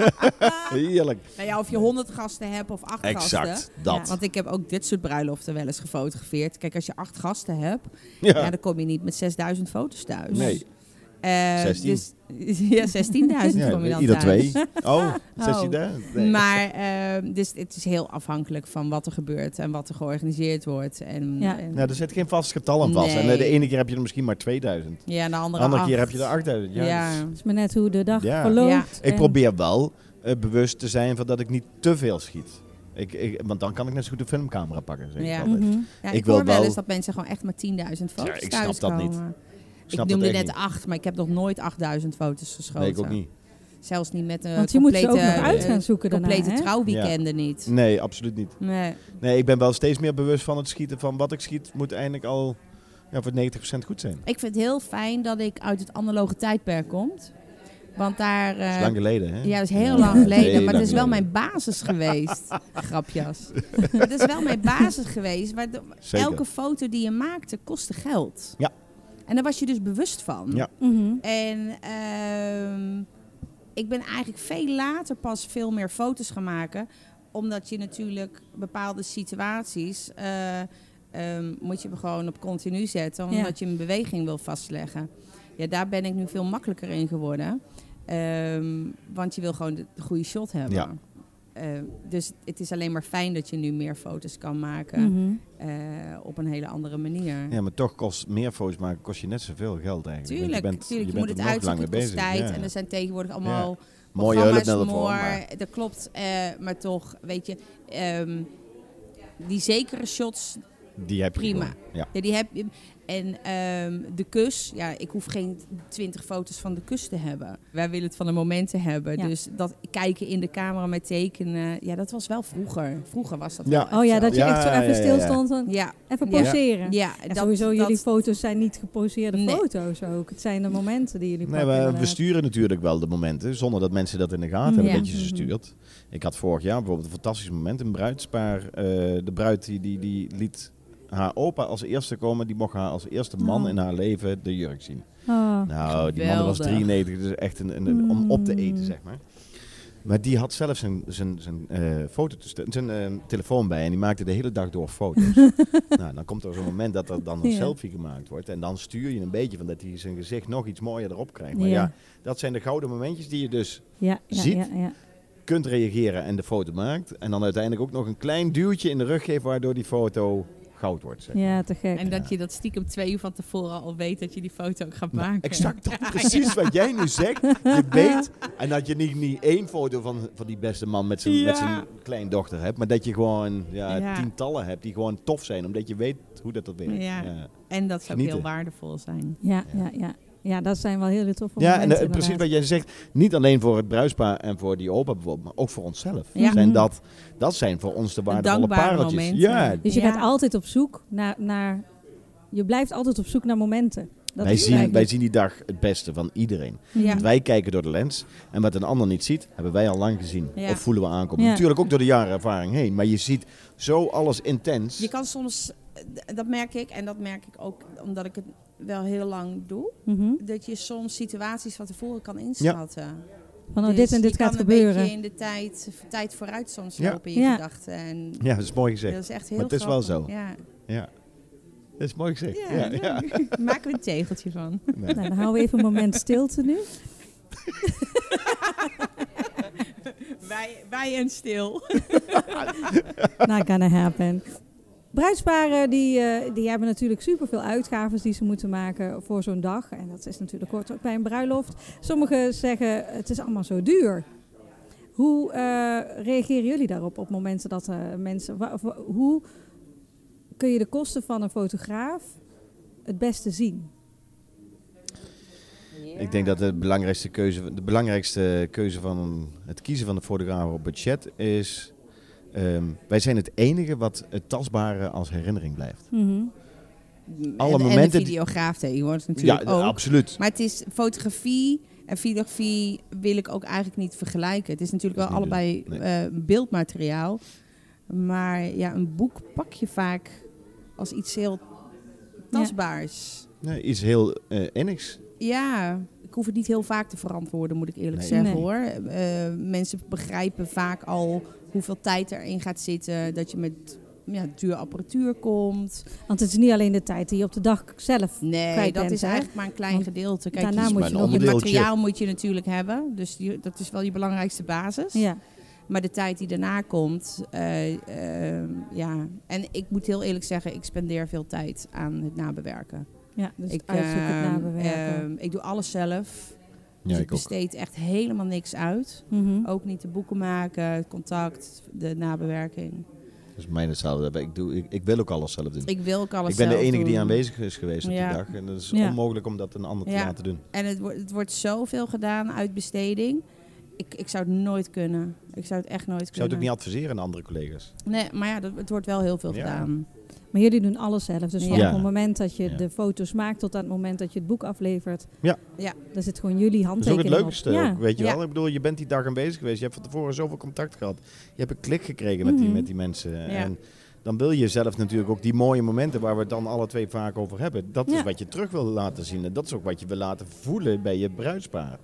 [SPEAKER 4] *laughs* heerlijk.
[SPEAKER 3] Nou ja, of je 100 gasten hebt of acht gasten.
[SPEAKER 4] Exact,
[SPEAKER 2] Ja.
[SPEAKER 4] dat.
[SPEAKER 3] Want ik heb ook dit soort bruiloften wel eens gefotografeerd. Kijk, als je acht gasten hebt,
[SPEAKER 4] Ja.
[SPEAKER 3] Ja, dan kom je niet met 6000 foto's thuis.
[SPEAKER 4] Nee,
[SPEAKER 3] Eh,
[SPEAKER 4] 16.
[SPEAKER 3] Dus, *laughs* ja, 16.000
[SPEAKER 4] Ja,
[SPEAKER 3] kom je dan
[SPEAKER 4] ieder
[SPEAKER 3] thuis. *laughs*
[SPEAKER 4] twee. *laughs* Oh, 16 daar? Nee.
[SPEAKER 3] Maar eh, dus het is heel afhankelijk van wat er gebeurt en wat er georganiseerd wordt. En,
[SPEAKER 2] Ja.
[SPEAKER 3] en,
[SPEAKER 4] Nou, er zit geen vast getal aan vast.
[SPEAKER 3] Nee.
[SPEAKER 4] En eh, de ene keer heb je er misschien maar 2000.
[SPEAKER 3] ja, en de
[SPEAKER 4] De
[SPEAKER 3] andere,
[SPEAKER 4] andere
[SPEAKER 3] acht.
[SPEAKER 4] keer heb je er 8000. Ja, dus
[SPEAKER 3] Ja,
[SPEAKER 4] dat is-
[SPEAKER 2] Het is maar net hoe de dag
[SPEAKER 4] Ja.
[SPEAKER 2] verloopt.
[SPEAKER 3] Ja.
[SPEAKER 4] Ik
[SPEAKER 2] en-
[SPEAKER 4] probeer wel eh, bewust te zijn van dat ik niet te veel schiet. Ik, ik, want dan kan ik net zo goed een filmcamera pakken. Zeg
[SPEAKER 3] Ja.
[SPEAKER 4] ik altijd.
[SPEAKER 2] Mhm.
[SPEAKER 3] Ja, ik,
[SPEAKER 4] Ik wil
[SPEAKER 3] hoor wel
[SPEAKER 4] wel-
[SPEAKER 3] eens dat mensen gewoon echt maar 10.000 foto's
[SPEAKER 4] Ja, ik snap
[SPEAKER 3] thuis
[SPEAKER 4] dat niet.
[SPEAKER 3] komen.
[SPEAKER 4] Ik
[SPEAKER 3] Ik
[SPEAKER 4] snap
[SPEAKER 3] noemde
[SPEAKER 4] dat echt
[SPEAKER 3] net acht, maar ik heb nog nooit 8000 foto's geschoten.
[SPEAKER 4] Nee, ik ook niet.
[SPEAKER 3] Zelfs niet met een
[SPEAKER 2] Want je moet
[SPEAKER 3] complete,
[SPEAKER 2] ze ook nog
[SPEAKER 3] eh,
[SPEAKER 2] uit gaan zoeken daarna,
[SPEAKER 3] complete
[SPEAKER 2] hè?
[SPEAKER 3] trouwweekenden niet.
[SPEAKER 4] Nee, absoluut niet.
[SPEAKER 3] Nee.
[SPEAKER 4] Nee, ik ben wel steeds meer bewust van het schieten. Van wat ik schiet moet eigenlijk al ja, voor 90% goed zijn.
[SPEAKER 3] Ik vind het heel fijn dat ik uit het analoge tijdperk kom. Want daar... eh,
[SPEAKER 4] Dat is lang geleden, hè?
[SPEAKER 3] ja, dat is heel lang
[SPEAKER 4] Heel
[SPEAKER 3] geleden, maar
[SPEAKER 4] lang
[SPEAKER 3] het is wel
[SPEAKER 4] geleden.
[SPEAKER 3] mijn basis geweest.
[SPEAKER 4] *laughs*
[SPEAKER 3] Grapjas. het is wel mijn basis geweest. waardoor
[SPEAKER 4] Zeker.
[SPEAKER 3] Elke foto die je maakte kostte geld.
[SPEAKER 4] Ja.
[SPEAKER 3] En daar was je dus bewust van.
[SPEAKER 4] Ja.
[SPEAKER 2] Mhm.
[SPEAKER 3] En ehm, ik ben eigenlijk veel later pas veel meer foto's gaan maken. Omdat je natuurlijk bepaalde situaties eh, ehm, moet je hem gewoon op continu zetten.
[SPEAKER 2] Ja.
[SPEAKER 3] Omdat je een beweging wil vastleggen. Ja, daar ben ik nu veel makkelijker in geworden. Ehm, want je wil gewoon de, de goede shot hebben.
[SPEAKER 4] Ja.
[SPEAKER 3] Eh, dus het is alleen maar fijn dat je nu meer foto's kan maken
[SPEAKER 2] Mhm.
[SPEAKER 3] eh, op een hele andere manier.
[SPEAKER 4] Ja, maar toch kost meer foto's maken kost je net zoveel geld eigenlijk. Want
[SPEAKER 3] Tuurlijk,
[SPEAKER 4] je bent,
[SPEAKER 3] tuurlijk. Je,
[SPEAKER 4] bent
[SPEAKER 3] moet
[SPEAKER 4] er
[SPEAKER 3] het
[SPEAKER 4] nog lang
[SPEAKER 3] uitzoeken,
[SPEAKER 4] mee
[SPEAKER 3] het kost
[SPEAKER 4] bezig.
[SPEAKER 3] tijd.
[SPEAKER 4] ja.
[SPEAKER 3] En er zijn tegenwoordig allemaal
[SPEAKER 4] Mooie
[SPEAKER 3] programma's
[SPEAKER 4] hulpmiddelen voor.
[SPEAKER 3] more,
[SPEAKER 4] maar-
[SPEAKER 3] Dat klopt, eh, maar toch, weet je, ehm, die zekere shots,
[SPEAKER 4] Die heb je
[SPEAKER 3] Prima.
[SPEAKER 4] gewoon. Ja.
[SPEAKER 3] ja, die heb je. En ehm, de kus, ja, ik hoef geen twintig foto's van de kus te hebben. Wij willen het van de momenten hebben.
[SPEAKER 1] Ja.
[SPEAKER 3] Dus dat kijken in de camera met tekenen, ja, dat was wel vroeger. Vroeger was dat
[SPEAKER 4] Ja.
[SPEAKER 3] wel echt
[SPEAKER 2] Oh ja,
[SPEAKER 3] zo.
[SPEAKER 2] dat je
[SPEAKER 4] Ja,
[SPEAKER 2] echt zo
[SPEAKER 4] ja,
[SPEAKER 2] even
[SPEAKER 4] ja, ja.
[SPEAKER 2] stilstond. van
[SPEAKER 3] Ja,
[SPEAKER 2] Even
[SPEAKER 3] Ja.
[SPEAKER 2] poseren.
[SPEAKER 3] ja
[SPEAKER 2] En sowieso, jullie foto's zijn niet geposeerde
[SPEAKER 3] Nee.
[SPEAKER 2] foto's ook. Het zijn de momenten die jullie
[SPEAKER 4] Nee,
[SPEAKER 2] pakken.
[SPEAKER 4] we, we
[SPEAKER 2] inderdaad.
[SPEAKER 4] sturen natuurlijk wel de momenten, zonder dat mensen dat in de gaten
[SPEAKER 3] Mhm.
[SPEAKER 4] hebben
[SPEAKER 3] Ja.
[SPEAKER 4] dat je ze stuurt. Ik had vorig jaar bijvoorbeeld een fantastisch moment, een bruidspaar. eh, de bruid die, die, die liet haar opa als eerste komen, die mocht haar als eerste man
[SPEAKER 1] Oh.
[SPEAKER 4] in haar leven de jurk zien.
[SPEAKER 1] Oh.
[SPEAKER 4] Nou, die man was
[SPEAKER 3] Geweldig.
[SPEAKER 4] 93, dus echt een, een, een- om op te eten,
[SPEAKER 1] Mm.
[SPEAKER 4] zeg maar. Maar die had zelf zijn, zijn, zijn, eh, foto te stu- zijn eh, telefoon bij en die maakte de hele dag door foto's. nou, dan komt er zo'n moment dat er dan een
[SPEAKER 1] Ja.
[SPEAKER 4] selfie gemaakt wordt. En dan stuur je een beetje van dat hij zijn gezicht nog iets mooier erop krijgt. Maar ja,
[SPEAKER 1] Ja.
[SPEAKER 4] dat zijn de gouden momentjes die je dus
[SPEAKER 1] Ja, ja,
[SPEAKER 4] Ziet.
[SPEAKER 1] ja, ja.
[SPEAKER 4] kunt reageren en de foto maakt. En dan uiteindelijk ook nog een klein duwtje in de rug geeft waardoor die foto goud wordt. Zeg.
[SPEAKER 1] ja, te gek.
[SPEAKER 3] En dat je dat stiekem twee uur van tevoren al weet dat je die foto ook gaat
[SPEAKER 4] Nou,
[SPEAKER 3] maken.
[SPEAKER 4] Exact
[SPEAKER 3] *laughs*
[SPEAKER 4] dat, precies wat jij nu zegt. Je weet, en dat je niet, niet één foto van, van die beste man met zijn,
[SPEAKER 3] Ja.
[SPEAKER 4] met zijn kleindochter hebt, maar dat je gewoon ja,
[SPEAKER 3] Ja.
[SPEAKER 4] tientallen hebt die gewoon tof zijn, omdat je weet hoe dat, dat werkt.
[SPEAKER 3] Ja.
[SPEAKER 4] ja.
[SPEAKER 3] En dat zou ook
[SPEAKER 4] Genieten.
[SPEAKER 3] heel waardevol zijn.
[SPEAKER 1] Ja, ja, ja. Ja, dat zijn wel hele toffe
[SPEAKER 4] Ja, en
[SPEAKER 1] momenten.
[SPEAKER 4] eh, precies
[SPEAKER 1] inderdaad.
[SPEAKER 4] wat jij zegt, niet alleen voor het bruispaar en voor die opa bijvoorbeeld, maar ook voor onszelf.
[SPEAKER 3] Ja. Mhm.
[SPEAKER 4] Zijn dat, dat zijn voor ons de waardevolle
[SPEAKER 3] dankbare
[SPEAKER 4] pareltjes.
[SPEAKER 3] momenten.
[SPEAKER 4] Ja,
[SPEAKER 1] Dus je
[SPEAKER 3] Ja.
[SPEAKER 1] gaat altijd op zoek naar, naar... Je blijft altijd op zoek naar momenten. Dat
[SPEAKER 4] wij
[SPEAKER 1] is
[SPEAKER 4] zien, wij
[SPEAKER 1] eigenlijk-
[SPEAKER 4] zien die dag het beste van iedereen.
[SPEAKER 3] Ja.
[SPEAKER 4] Want wij kijken door de lens en wat een ander niet ziet, hebben wij al lang gezien.
[SPEAKER 3] Ja.
[SPEAKER 4] Of voelen we aankomen.
[SPEAKER 1] Ja.
[SPEAKER 4] Natuurlijk ook door de jaren ervaring heen, maar je ziet zo alles intens.
[SPEAKER 3] Je kan soms, d- dat merk ik en dat merk ik ook omdat ik het wel heel lang doe,
[SPEAKER 1] Mhm.
[SPEAKER 3] dat je soms situaties van tevoren kan inschatten.
[SPEAKER 1] Van oh,
[SPEAKER 3] Dus
[SPEAKER 1] dit en dit
[SPEAKER 3] je
[SPEAKER 1] gaat
[SPEAKER 3] kan een
[SPEAKER 1] gebeuren.
[SPEAKER 3] beetje in de tijd, tijd vooruit soms
[SPEAKER 4] Ja.
[SPEAKER 3] lopen in je
[SPEAKER 1] Ja.
[SPEAKER 3] gedachten. En
[SPEAKER 4] Ja, dat is mooi
[SPEAKER 3] dat
[SPEAKER 4] gezegd.
[SPEAKER 3] is echt heel
[SPEAKER 4] Maar het is wel
[SPEAKER 3] grappig.
[SPEAKER 4] zo.
[SPEAKER 3] Ja.
[SPEAKER 4] Ja. Dat is mooi gezegd.
[SPEAKER 3] Ja, *laughs*
[SPEAKER 4] *laughs*
[SPEAKER 3] daar Maken we een tegeltje van.
[SPEAKER 4] Nee.
[SPEAKER 1] Nou, dan houden we even een moment stilte nu.
[SPEAKER 3] wij, wij en stil.
[SPEAKER 1] Not gonna happen. Bruidsparen die, eh, die hebben natuurlijk superveel uitgaven die ze moeten maken voor zo'n dag. En dat is natuurlijk kort ook bij een bruiloft. Sommigen zeggen het is allemaal zo duur. Hoe eh, reageren jullie daarop op momenten dat eh, mensen... wa- wa- hoe kun je de kosten van een fotograaf het beste zien?
[SPEAKER 4] Ik denk dat de belangrijkste keuze, de belangrijkste keuze van het kiezen van de fotograaf op budget is... ehm, wij zijn het enige wat het tastbare als herinnering blijft.
[SPEAKER 3] Mhm. en, En
[SPEAKER 4] momenten
[SPEAKER 3] de
[SPEAKER 4] die-
[SPEAKER 3] videograaf tegenwoordig
[SPEAKER 4] Ja,
[SPEAKER 3] natuurlijk ook.
[SPEAKER 4] absoluut.
[SPEAKER 3] Maar het is fotografie en videografie wil ik ook eigenlijk niet vergelijken. Het is natuurlijk wel
[SPEAKER 4] Dat is niet
[SPEAKER 3] allebei
[SPEAKER 4] doen,
[SPEAKER 3] eh, beeldmateriaal. Maar ja, een boek pak je vaak als iets heel tastbaars.
[SPEAKER 4] Nee, iets heel eh ennigs.
[SPEAKER 3] Ja. ik hoef het niet heel vaak te verantwoorden, moet ik eerlijk
[SPEAKER 4] Nee.
[SPEAKER 3] zeggen
[SPEAKER 1] Nee.
[SPEAKER 3] hoor. Eh, mensen begrijpen vaak al hoeveel tijd erin gaat zitten. Dat je met ja, duur apparatuur komt.
[SPEAKER 1] Want het is niet alleen de tijd die je op de dag zelf...
[SPEAKER 3] Nee,
[SPEAKER 1] Kwijt
[SPEAKER 3] dat
[SPEAKER 1] bent,
[SPEAKER 3] is
[SPEAKER 1] hè?
[SPEAKER 3] eigenlijk maar een klein
[SPEAKER 1] Want
[SPEAKER 3] gedeelte. Kijk,
[SPEAKER 1] daarna
[SPEAKER 3] je-
[SPEAKER 4] is
[SPEAKER 1] moet
[SPEAKER 4] maar
[SPEAKER 1] je
[SPEAKER 4] een
[SPEAKER 1] nog
[SPEAKER 3] Het
[SPEAKER 4] Onderdeeltje.
[SPEAKER 3] materiaal moet je natuurlijk hebben, dus die, dat is wel je belangrijkste basis.
[SPEAKER 1] Ja.
[SPEAKER 3] Maar de tijd die daarna komt, eh, eh, ja. En ik moet heel eerlijk zeggen, ik spendeer veel tijd aan het nabewerken.
[SPEAKER 1] Ja, dus
[SPEAKER 3] ik,
[SPEAKER 1] ik, uitzoeken, het
[SPEAKER 3] ehm,
[SPEAKER 1] nabewerken.
[SPEAKER 3] ehm, ik doe alles zelf.
[SPEAKER 4] Ja,
[SPEAKER 3] dus ik
[SPEAKER 4] ik ook.
[SPEAKER 3] besteed echt helemaal niks uit.
[SPEAKER 1] Mhm.
[SPEAKER 3] Ook niet de boeken maken, het contact, de nabewerking.
[SPEAKER 4] Dus mijn hetzelfde. Ik, doe, ik, ik wil ook alles zelf doen.
[SPEAKER 3] Ik wil ook alles
[SPEAKER 4] Ik ben de
[SPEAKER 3] zelf
[SPEAKER 4] enige die
[SPEAKER 3] doen.
[SPEAKER 4] aanwezig is geweest op
[SPEAKER 3] Ja.
[SPEAKER 4] die dag. En dat is
[SPEAKER 1] Ja.
[SPEAKER 4] onmogelijk om dat een ander te
[SPEAKER 3] Ja.
[SPEAKER 4] laten doen.
[SPEAKER 3] En het, wordt- het wordt zoveel gedaan uit besteding. Ik, ik zou het nooit kunnen. Ik zou het echt nooit
[SPEAKER 4] Ik zou het ook
[SPEAKER 3] kunnen.
[SPEAKER 4] niet adviseren aan andere collega's.
[SPEAKER 3] Nee, maar ja, dat, het wordt wel heel veel
[SPEAKER 4] Ja.
[SPEAKER 3] gedaan.
[SPEAKER 2] Maar jullie doen alles zelf. Dus
[SPEAKER 3] Ja.
[SPEAKER 2] van het moment dat je
[SPEAKER 4] Ja.
[SPEAKER 2] de foto's maakt tot aan het moment dat je het boek aflevert.
[SPEAKER 4] Ja.
[SPEAKER 3] Ja.
[SPEAKER 2] Daar zit gewoon jullie
[SPEAKER 4] Dat is ook
[SPEAKER 2] handtekening
[SPEAKER 4] het leukste,
[SPEAKER 2] op.
[SPEAKER 4] ook, weet je
[SPEAKER 3] Ja.
[SPEAKER 4] wel. Ik bedoel, je bent die dag aanwezig geweest. Je hebt van tevoren zoveel contact gehad. Je hebt een klik gekregen met,
[SPEAKER 2] Mhm.
[SPEAKER 4] die, met die mensen. En dan wil je zelf natuurlijk ook die mooie momenten waar we het dan alle twee vaak over hebben. Dat
[SPEAKER 2] Ja.
[SPEAKER 4] is wat je terug wil laten zien. En dat is ook wat je wil laten voelen bij je bruidspaar.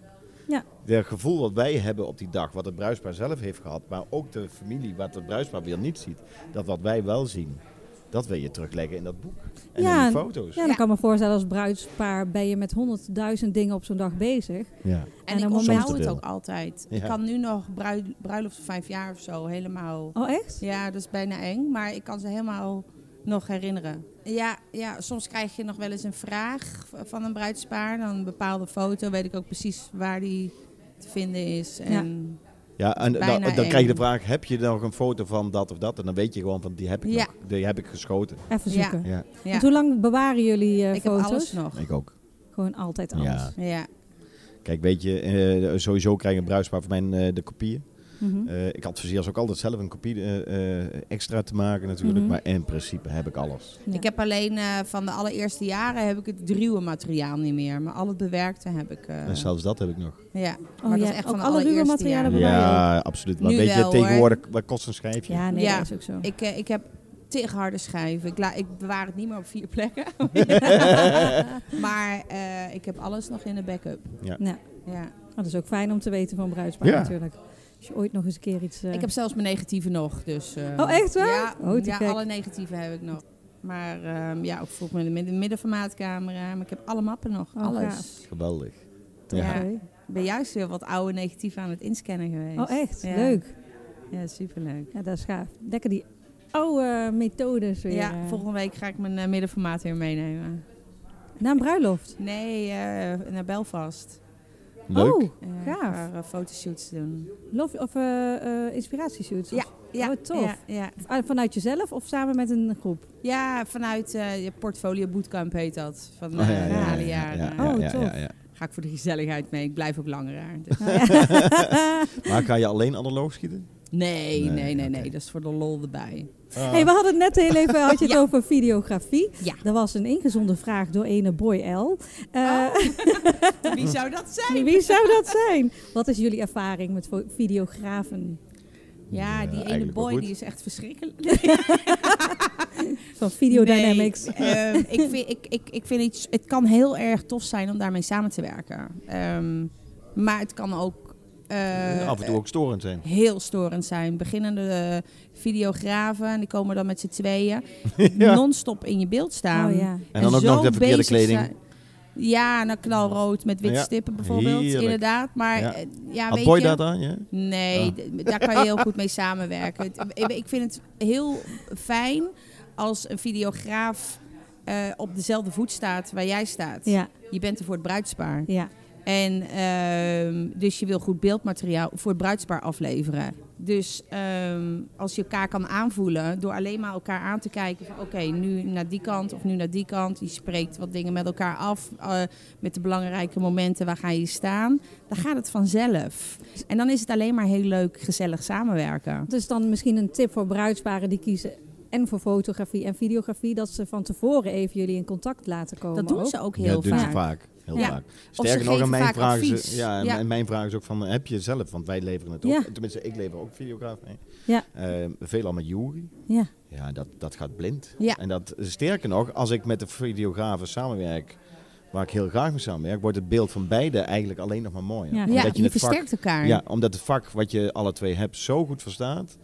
[SPEAKER 2] Ja.
[SPEAKER 4] Het gevoel wat wij hebben op die dag, wat het bruidspaar zelf heeft gehad. Maar ook de familie, wat het bruidspaar weer niet ziet. Dat wat wij wel zien, dat wil je terugleggen in dat boek. En
[SPEAKER 2] Ja,
[SPEAKER 4] in
[SPEAKER 2] en-
[SPEAKER 4] die foto's.
[SPEAKER 2] Ja, dan kan ik me voorstellen als bruidspaar ben je met honderdduizend dingen op zo'n dag bezig.
[SPEAKER 4] Ja.
[SPEAKER 2] En
[SPEAKER 3] En,
[SPEAKER 2] een
[SPEAKER 3] ik
[SPEAKER 2] moment-
[SPEAKER 4] Soms
[SPEAKER 3] onthoud
[SPEAKER 4] te
[SPEAKER 3] het
[SPEAKER 4] veel.
[SPEAKER 3] ook altijd.
[SPEAKER 4] Ja.
[SPEAKER 3] Ik kan nu nog brui- bruiloft van vijf jaar of zo helemaal...
[SPEAKER 2] Oh echt?
[SPEAKER 3] Ja, dat is bijna eng, maar ik kan ze helemaal nog herinneren. Ja, ja, soms krijg je nog wel eens een vraag v- van een bruidspaar. Dan een bepaalde foto, weet ik ook precies waar die te vinden is. En
[SPEAKER 4] Ja, en dan,
[SPEAKER 3] Bijna
[SPEAKER 4] dan krijg je de
[SPEAKER 3] één.
[SPEAKER 4] vraag, heb je nog een foto van dat of dat? En dan weet je gewoon van, die heb ik,
[SPEAKER 3] Ja.
[SPEAKER 4] nog, die heb ik geschoten.
[SPEAKER 2] Even
[SPEAKER 3] Ja.
[SPEAKER 2] zoeken.
[SPEAKER 4] Ja,
[SPEAKER 3] ja,
[SPEAKER 2] Want hoe lang bewaren jullie eh,
[SPEAKER 3] ik heb
[SPEAKER 2] foto's?
[SPEAKER 3] alles nog.
[SPEAKER 4] ik ook.
[SPEAKER 2] Gewoon altijd alles.
[SPEAKER 4] Ja.
[SPEAKER 3] Ja,
[SPEAKER 4] Kijk, weet je, eh, sowieso krijgen bruidspaar van mij eh, de kopieën.
[SPEAKER 2] Mhm.
[SPEAKER 4] Eh, ik adviseer ze ook altijd zelf een kopie eh, eh, extra te maken natuurlijk.
[SPEAKER 2] Mhm.
[SPEAKER 4] Maar in principe heb ik alles.
[SPEAKER 2] Ja.
[SPEAKER 3] Ik heb alleen eh, van de allereerste jaren heb ik het druwe materiaal niet meer. Maar al het bewerkte heb ik. eh,
[SPEAKER 4] En zelfs dat heb ik nog.
[SPEAKER 3] ja,
[SPEAKER 2] Oh,
[SPEAKER 3] maar dat
[SPEAKER 2] ja,
[SPEAKER 3] is echt
[SPEAKER 2] ook
[SPEAKER 3] van de
[SPEAKER 2] alle ruwe
[SPEAKER 3] allereerste
[SPEAKER 2] materialen bij
[SPEAKER 3] jaren.
[SPEAKER 2] mij
[SPEAKER 4] Ja, absoluut. Maar
[SPEAKER 3] Nu
[SPEAKER 4] weet je,
[SPEAKER 3] wel, hoor.
[SPEAKER 4] tegenwoordig, wat kost een schijfje?
[SPEAKER 2] Ja, nee,
[SPEAKER 3] Ja.
[SPEAKER 2] dat is ook
[SPEAKER 4] *laughs*
[SPEAKER 2] zo.
[SPEAKER 3] Ik, eh, ik heb tig harde schijven. Ik, la- ik bewaar het niet meer op vier
[SPEAKER 2] *laughs*
[SPEAKER 3] plekken. maar eh, ik heb alles nog in de backup.
[SPEAKER 2] Ja.
[SPEAKER 3] Ja.
[SPEAKER 2] *laughs* Nou, dat is ook fijn om te weten van bruidspaar
[SPEAKER 4] Ja.
[SPEAKER 2] natuurlijk. Als je ooit nog eens een keer iets... eh,
[SPEAKER 3] Ik heb zelfs mijn negatieve nog. Dus, eh,
[SPEAKER 2] Oh, echt waar?
[SPEAKER 3] Ja,
[SPEAKER 2] Oh, te
[SPEAKER 3] ja
[SPEAKER 2] gek.
[SPEAKER 3] alle negatieve heb ik nog. Maar ehm, ja, ook vroeg met de midden- middenformaatcamera. Maar ik heb alle mappen nog.
[SPEAKER 2] Oh,
[SPEAKER 3] alles.
[SPEAKER 2] gaaf.
[SPEAKER 4] Geweldig.
[SPEAKER 3] Ja.
[SPEAKER 4] Ja.
[SPEAKER 2] Oké.
[SPEAKER 3] Ik ben juist weer wat oude negatieven aan het inscannen geweest.
[SPEAKER 2] Oh echt?
[SPEAKER 3] Ja.
[SPEAKER 2] Leuk.
[SPEAKER 3] Ja, superleuk.
[SPEAKER 2] Ja, dat is gaaf. Lekker die oude methodes weer.
[SPEAKER 3] Ja,
[SPEAKER 2] eh,
[SPEAKER 3] volgende week ga ik mijn eh, middenformaat weer meenemen.
[SPEAKER 2] Na een bruiloft.
[SPEAKER 3] Nee, eh, naar Belfast.
[SPEAKER 4] Leuk.
[SPEAKER 2] Oh,
[SPEAKER 3] Eh,
[SPEAKER 2] Gaaf.
[SPEAKER 3] Voor eh, fotoshoots te doen.
[SPEAKER 2] love, of eh, eh, inspiratieshoots. Of-
[SPEAKER 3] Ja,
[SPEAKER 2] Oh, tof.
[SPEAKER 3] Ja, ja.
[SPEAKER 2] ah, vanuit jezelf of samen met een groep?
[SPEAKER 3] ja vanuit eh, je portfolio bootcamp heet dat. Van
[SPEAKER 4] Oh,
[SPEAKER 3] eh
[SPEAKER 4] ja, ja, ja,
[SPEAKER 3] herhalen
[SPEAKER 4] ja,
[SPEAKER 3] jaren.
[SPEAKER 4] ja,
[SPEAKER 2] Oh,
[SPEAKER 4] ja, ja,
[SPEAKER 2] tof.
[SPEAKER 4] ja.
[SPEAKER 3] Ga ik voor de gezelligheid mee. Ik blijf ook langer aan.
[SPEAKER 4] *laughs*
[SPEAKER 2] Ah,
[SPEAKER 3] Dus-
[SPEAKER 4] Maar ga je alleen analoog schieten?
[SPEAKER 3] Nee,
[SPEAKER 4] Nee,
[SPEAKER 3] nee, nee, nee,
[SPEAKER 4] oké.
[SPEAKER 3] Dat is voor de lol erbij.
[SPEAKER 2] *laughs* Hey, we hadden het net heel even had je het
[SPEAKER 3] Ja.
[SPEAKER 2] over videografie.
[SPEAKER 3] Ja.
[SPEAKER 2] Er was een ingezonde vraag door ene Boy L. *laughs*
[SPEAKER 3] Oh,
[SPEAKER 2] Eh,
[SPEAKER 3] Wie zou dat zijn?
[SPEAKER 2] Wie zou dat zijn? Wat is jullie ervaring met vo- videografen?
[SPEAKER 3] Ja, die ene
[SPEAKER 4] eigenlijk wel
[SPEAKER 3] boy
[SPEAKER 4] goed.
[SPEAKER 3] die is echt verschrikkelijk.
[SPEAKER 4] *laughs*
[SPEAKER 2] Van Videodynamics.
[SPEAKER 3] Nee, *laughs* ehm, ik vind, ik, ik, ik vind iets, het kan heel erg tof zijn om daarmee samen te werken. Ehm, maar het kan ook eh,
[SPEAKER 4] Af en toe ook storend zijn.
[SPEAKER 3] heel storend zijn. Beginnende eh, videografen, en die komen dan met z'n tweeën
[SPEAKER 4] *laughs* Ja.
[SPEAKER 3] non-stop in je beeld staan.
[SPEAKER 2] Oh ja.
[SPEAKER 4] En dan ook
[SPEAKER 3] zo
[SPEAKER 4] nog de verkeerde
[SPEAKER 3] bezig
[SPEAKER 4] kleding.
[SPEAKER 3] zijn. Ja, nou knalrood met witte
[SPEAKER 4] Ja,
[SPEAKER 3] stippen bijvoorbeeld.
[SPEAKER 4] heerlijk.
[SPEAKER 3] Inderdaad, maar
[SPEAKER 4] Ja.
[SPEAKER 3] ja, ja
[SPEAKER 4] Had
[SPEAKER 3] weet
[SPEAKER 4] Boy
[SPEAKER 3] je...
[SPEAKER 4] dat aan? Ja?
[SPEAKER 3] Nee,
[SPEAKER 4] Ah.
[SPEAKER 3] d- daar kan je heel goed mee samenwerken. Het- ik- Ik vind het heel fijn als een videograaf eh, op dezelfde voet staat waar jij staat.
[SPEAKER 2] Ja,
[SPEAKER 3] Je bent er voor het bruidspaar.
[SPEAKER 2] ja.
[SPEAKER 3] En ehm, dus je wil goed beeldmateriaal voor het bruidspaar afleveren. Dus ehm, als je elkaar kan aanvoelen door alleen maar elkaar aan te kijken van oké, nu naar die kant of nu naar die kant. Je spreekt wat dingen met elkaar af eh, met de belangrijke momenten waar ga je staan. Dan gaat het vanzelf. En dan is het alleen maar heel leuk gezellig samenwerken.
[SPEAKER 2] Dus dan misschien een tip voor bruidsparen die kiezen en voor fotografie en videografie, dat ze van tevoren even jullie in contact laten komen.
[SPEAKER 3] Dat doen
[SPEAKER 2] ook.
[SPEAKER 3] ze ook
[SPEAKER 4] ja,
[SPEAKER 3] heel
[SPEAKER 4] dat doen ze
[SPEAKER 3] vaak.
[SPEAKER 4] vaak. Heel
[SPEAKER 3] Ja.
[SPEAKER 4] vaak.
[SPEAKER 3] ze
[SPEAKER 4] Sterker nog,
[SPEAKER 3] geven
[SPEAKER 4] en mijn
[SPEAKER 3] vaak
[SPEAKER 4] vraag, is,
[SPEAKER 3] advies.
[SPEAKER 4] ja, en
[SPEAKER 3] Ja.
[SPEAKER 4] en mijn vraag is ook van, heb je zelf? Want wij leveren het ook.
[SPEAKER 2] Ja.
[SPEAKER 4] Tenminste, ik lever ook videograaf mee.
[SPEAKER 2] Ja.
[SPEAKER 4] Eh, veelal met Jury.
[SPEAKER 2] Ja.
[SPEAKER 4] Ja, dat, dat gaat blind.
[SPEAKER 3] Ja.
[SPEAKER 4] En dat, sterker nog, als ik met de videografen samenwerk, waar ik heel graag mee samenwerk, wordt het beeld van beide eigenlijk alleen nog maar mooier.
[SPEAKER 2] Ja.
[SPEAKER 3] Ja,
[SPEAKER 4] Omdat
[SPEAKER 3] je
[SPEAKER 4] het vak-
[SPEAKER 3] versterkt elkaar.
[SPEAKER 4] ja, omdat het vak wat je alle twee hebt zo goed verstaat.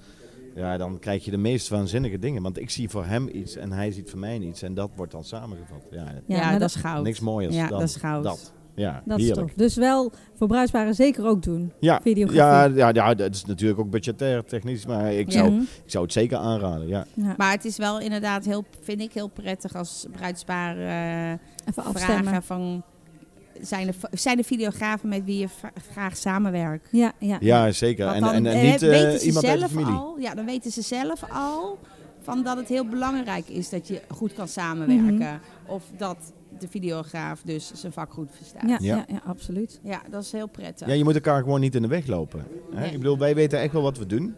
[SPEAKER 4] Ja, dan krijg je de meest waanzinnige dingen. Want ik zie voor hem iets en hij ziet voor mij iets. En dat wordt dan samengevat. Ja,
[SPEAKER 3] Ja,
[SPEAKER 2] Ja, maar
[SPEAKER 3] dat,
[SPEAKER 2] dat-
[SPEAKER 3] is goud.
[SPEAKER 4] niks mooiers
[SPEAKER 3] Ja,
[SPEAKER 4] dan
[SPEAKER 3] dat is goud.
[SPEAKER 4] dat. Ja,
[SPEAKER 2] Dat is
[SPEAKER 4] heerlijk.
[SPEAKER 2] tof. Dus wel voor bruidsparen zeker ook doen.
[SPEAKER 4] Ja,
[SPEAKER 2] Videografie.
[SPEAKER 4] ja, ja, ja, dat is natuurlijk ook budgetair, technisch. Maar ik zou,
[SPEAKER 2] Mhm.
[SPEAKER 4] ik zou het zeker aanraden. Ja.
[SPEAKER 2] Ja.
[SPEAKER 3] Maar het is wel inderdaad heel, vind ik heel prettig als bruidspaar eh,
[SPEAKER 2] Even afstemmen.
[SPEAKER 3] vragen van... Zijn er, zijn er videografen met wie je va- graag samenwerkt?
[SPEAKER 2] Ja, ja.
[SPEAKER 4] ja, zeker. En,
[SPEAKER 3] Want dan
[SPEAKER 4] en, en
[SPEAKER 3] eh,
[SPEAKER 4] niet eh,
[SPEAKER 3] weten ze
[SPEAKER 4] iemand uit de
[SPEAKER 3] zelf
[SPEAKER 4] familie.
[SPEAKER 3] al, ja, dan weten ze zelf al van dat het heel belangrijk is dat je goed kan samenwerken.
[SPEAKER 4] Mhm.
[SPEAKER 3] Of dat de videograaf dus zijn vak goed verstaat.
[SPEAKER 2] Ja,
[SPEAKER 3] Ja,
[SPEAKER 2] ja, ja, absoluut.
[SPEAKER 3] dat is heel prettig.
[SPEAKER 4] Ja, je moet elkaar gewoon niet in de weg lopen. Hè?
[SPEAKER 3] Nee.
[SPEAKER 4] Ik bedoel, wij weten echt wel wat we doen.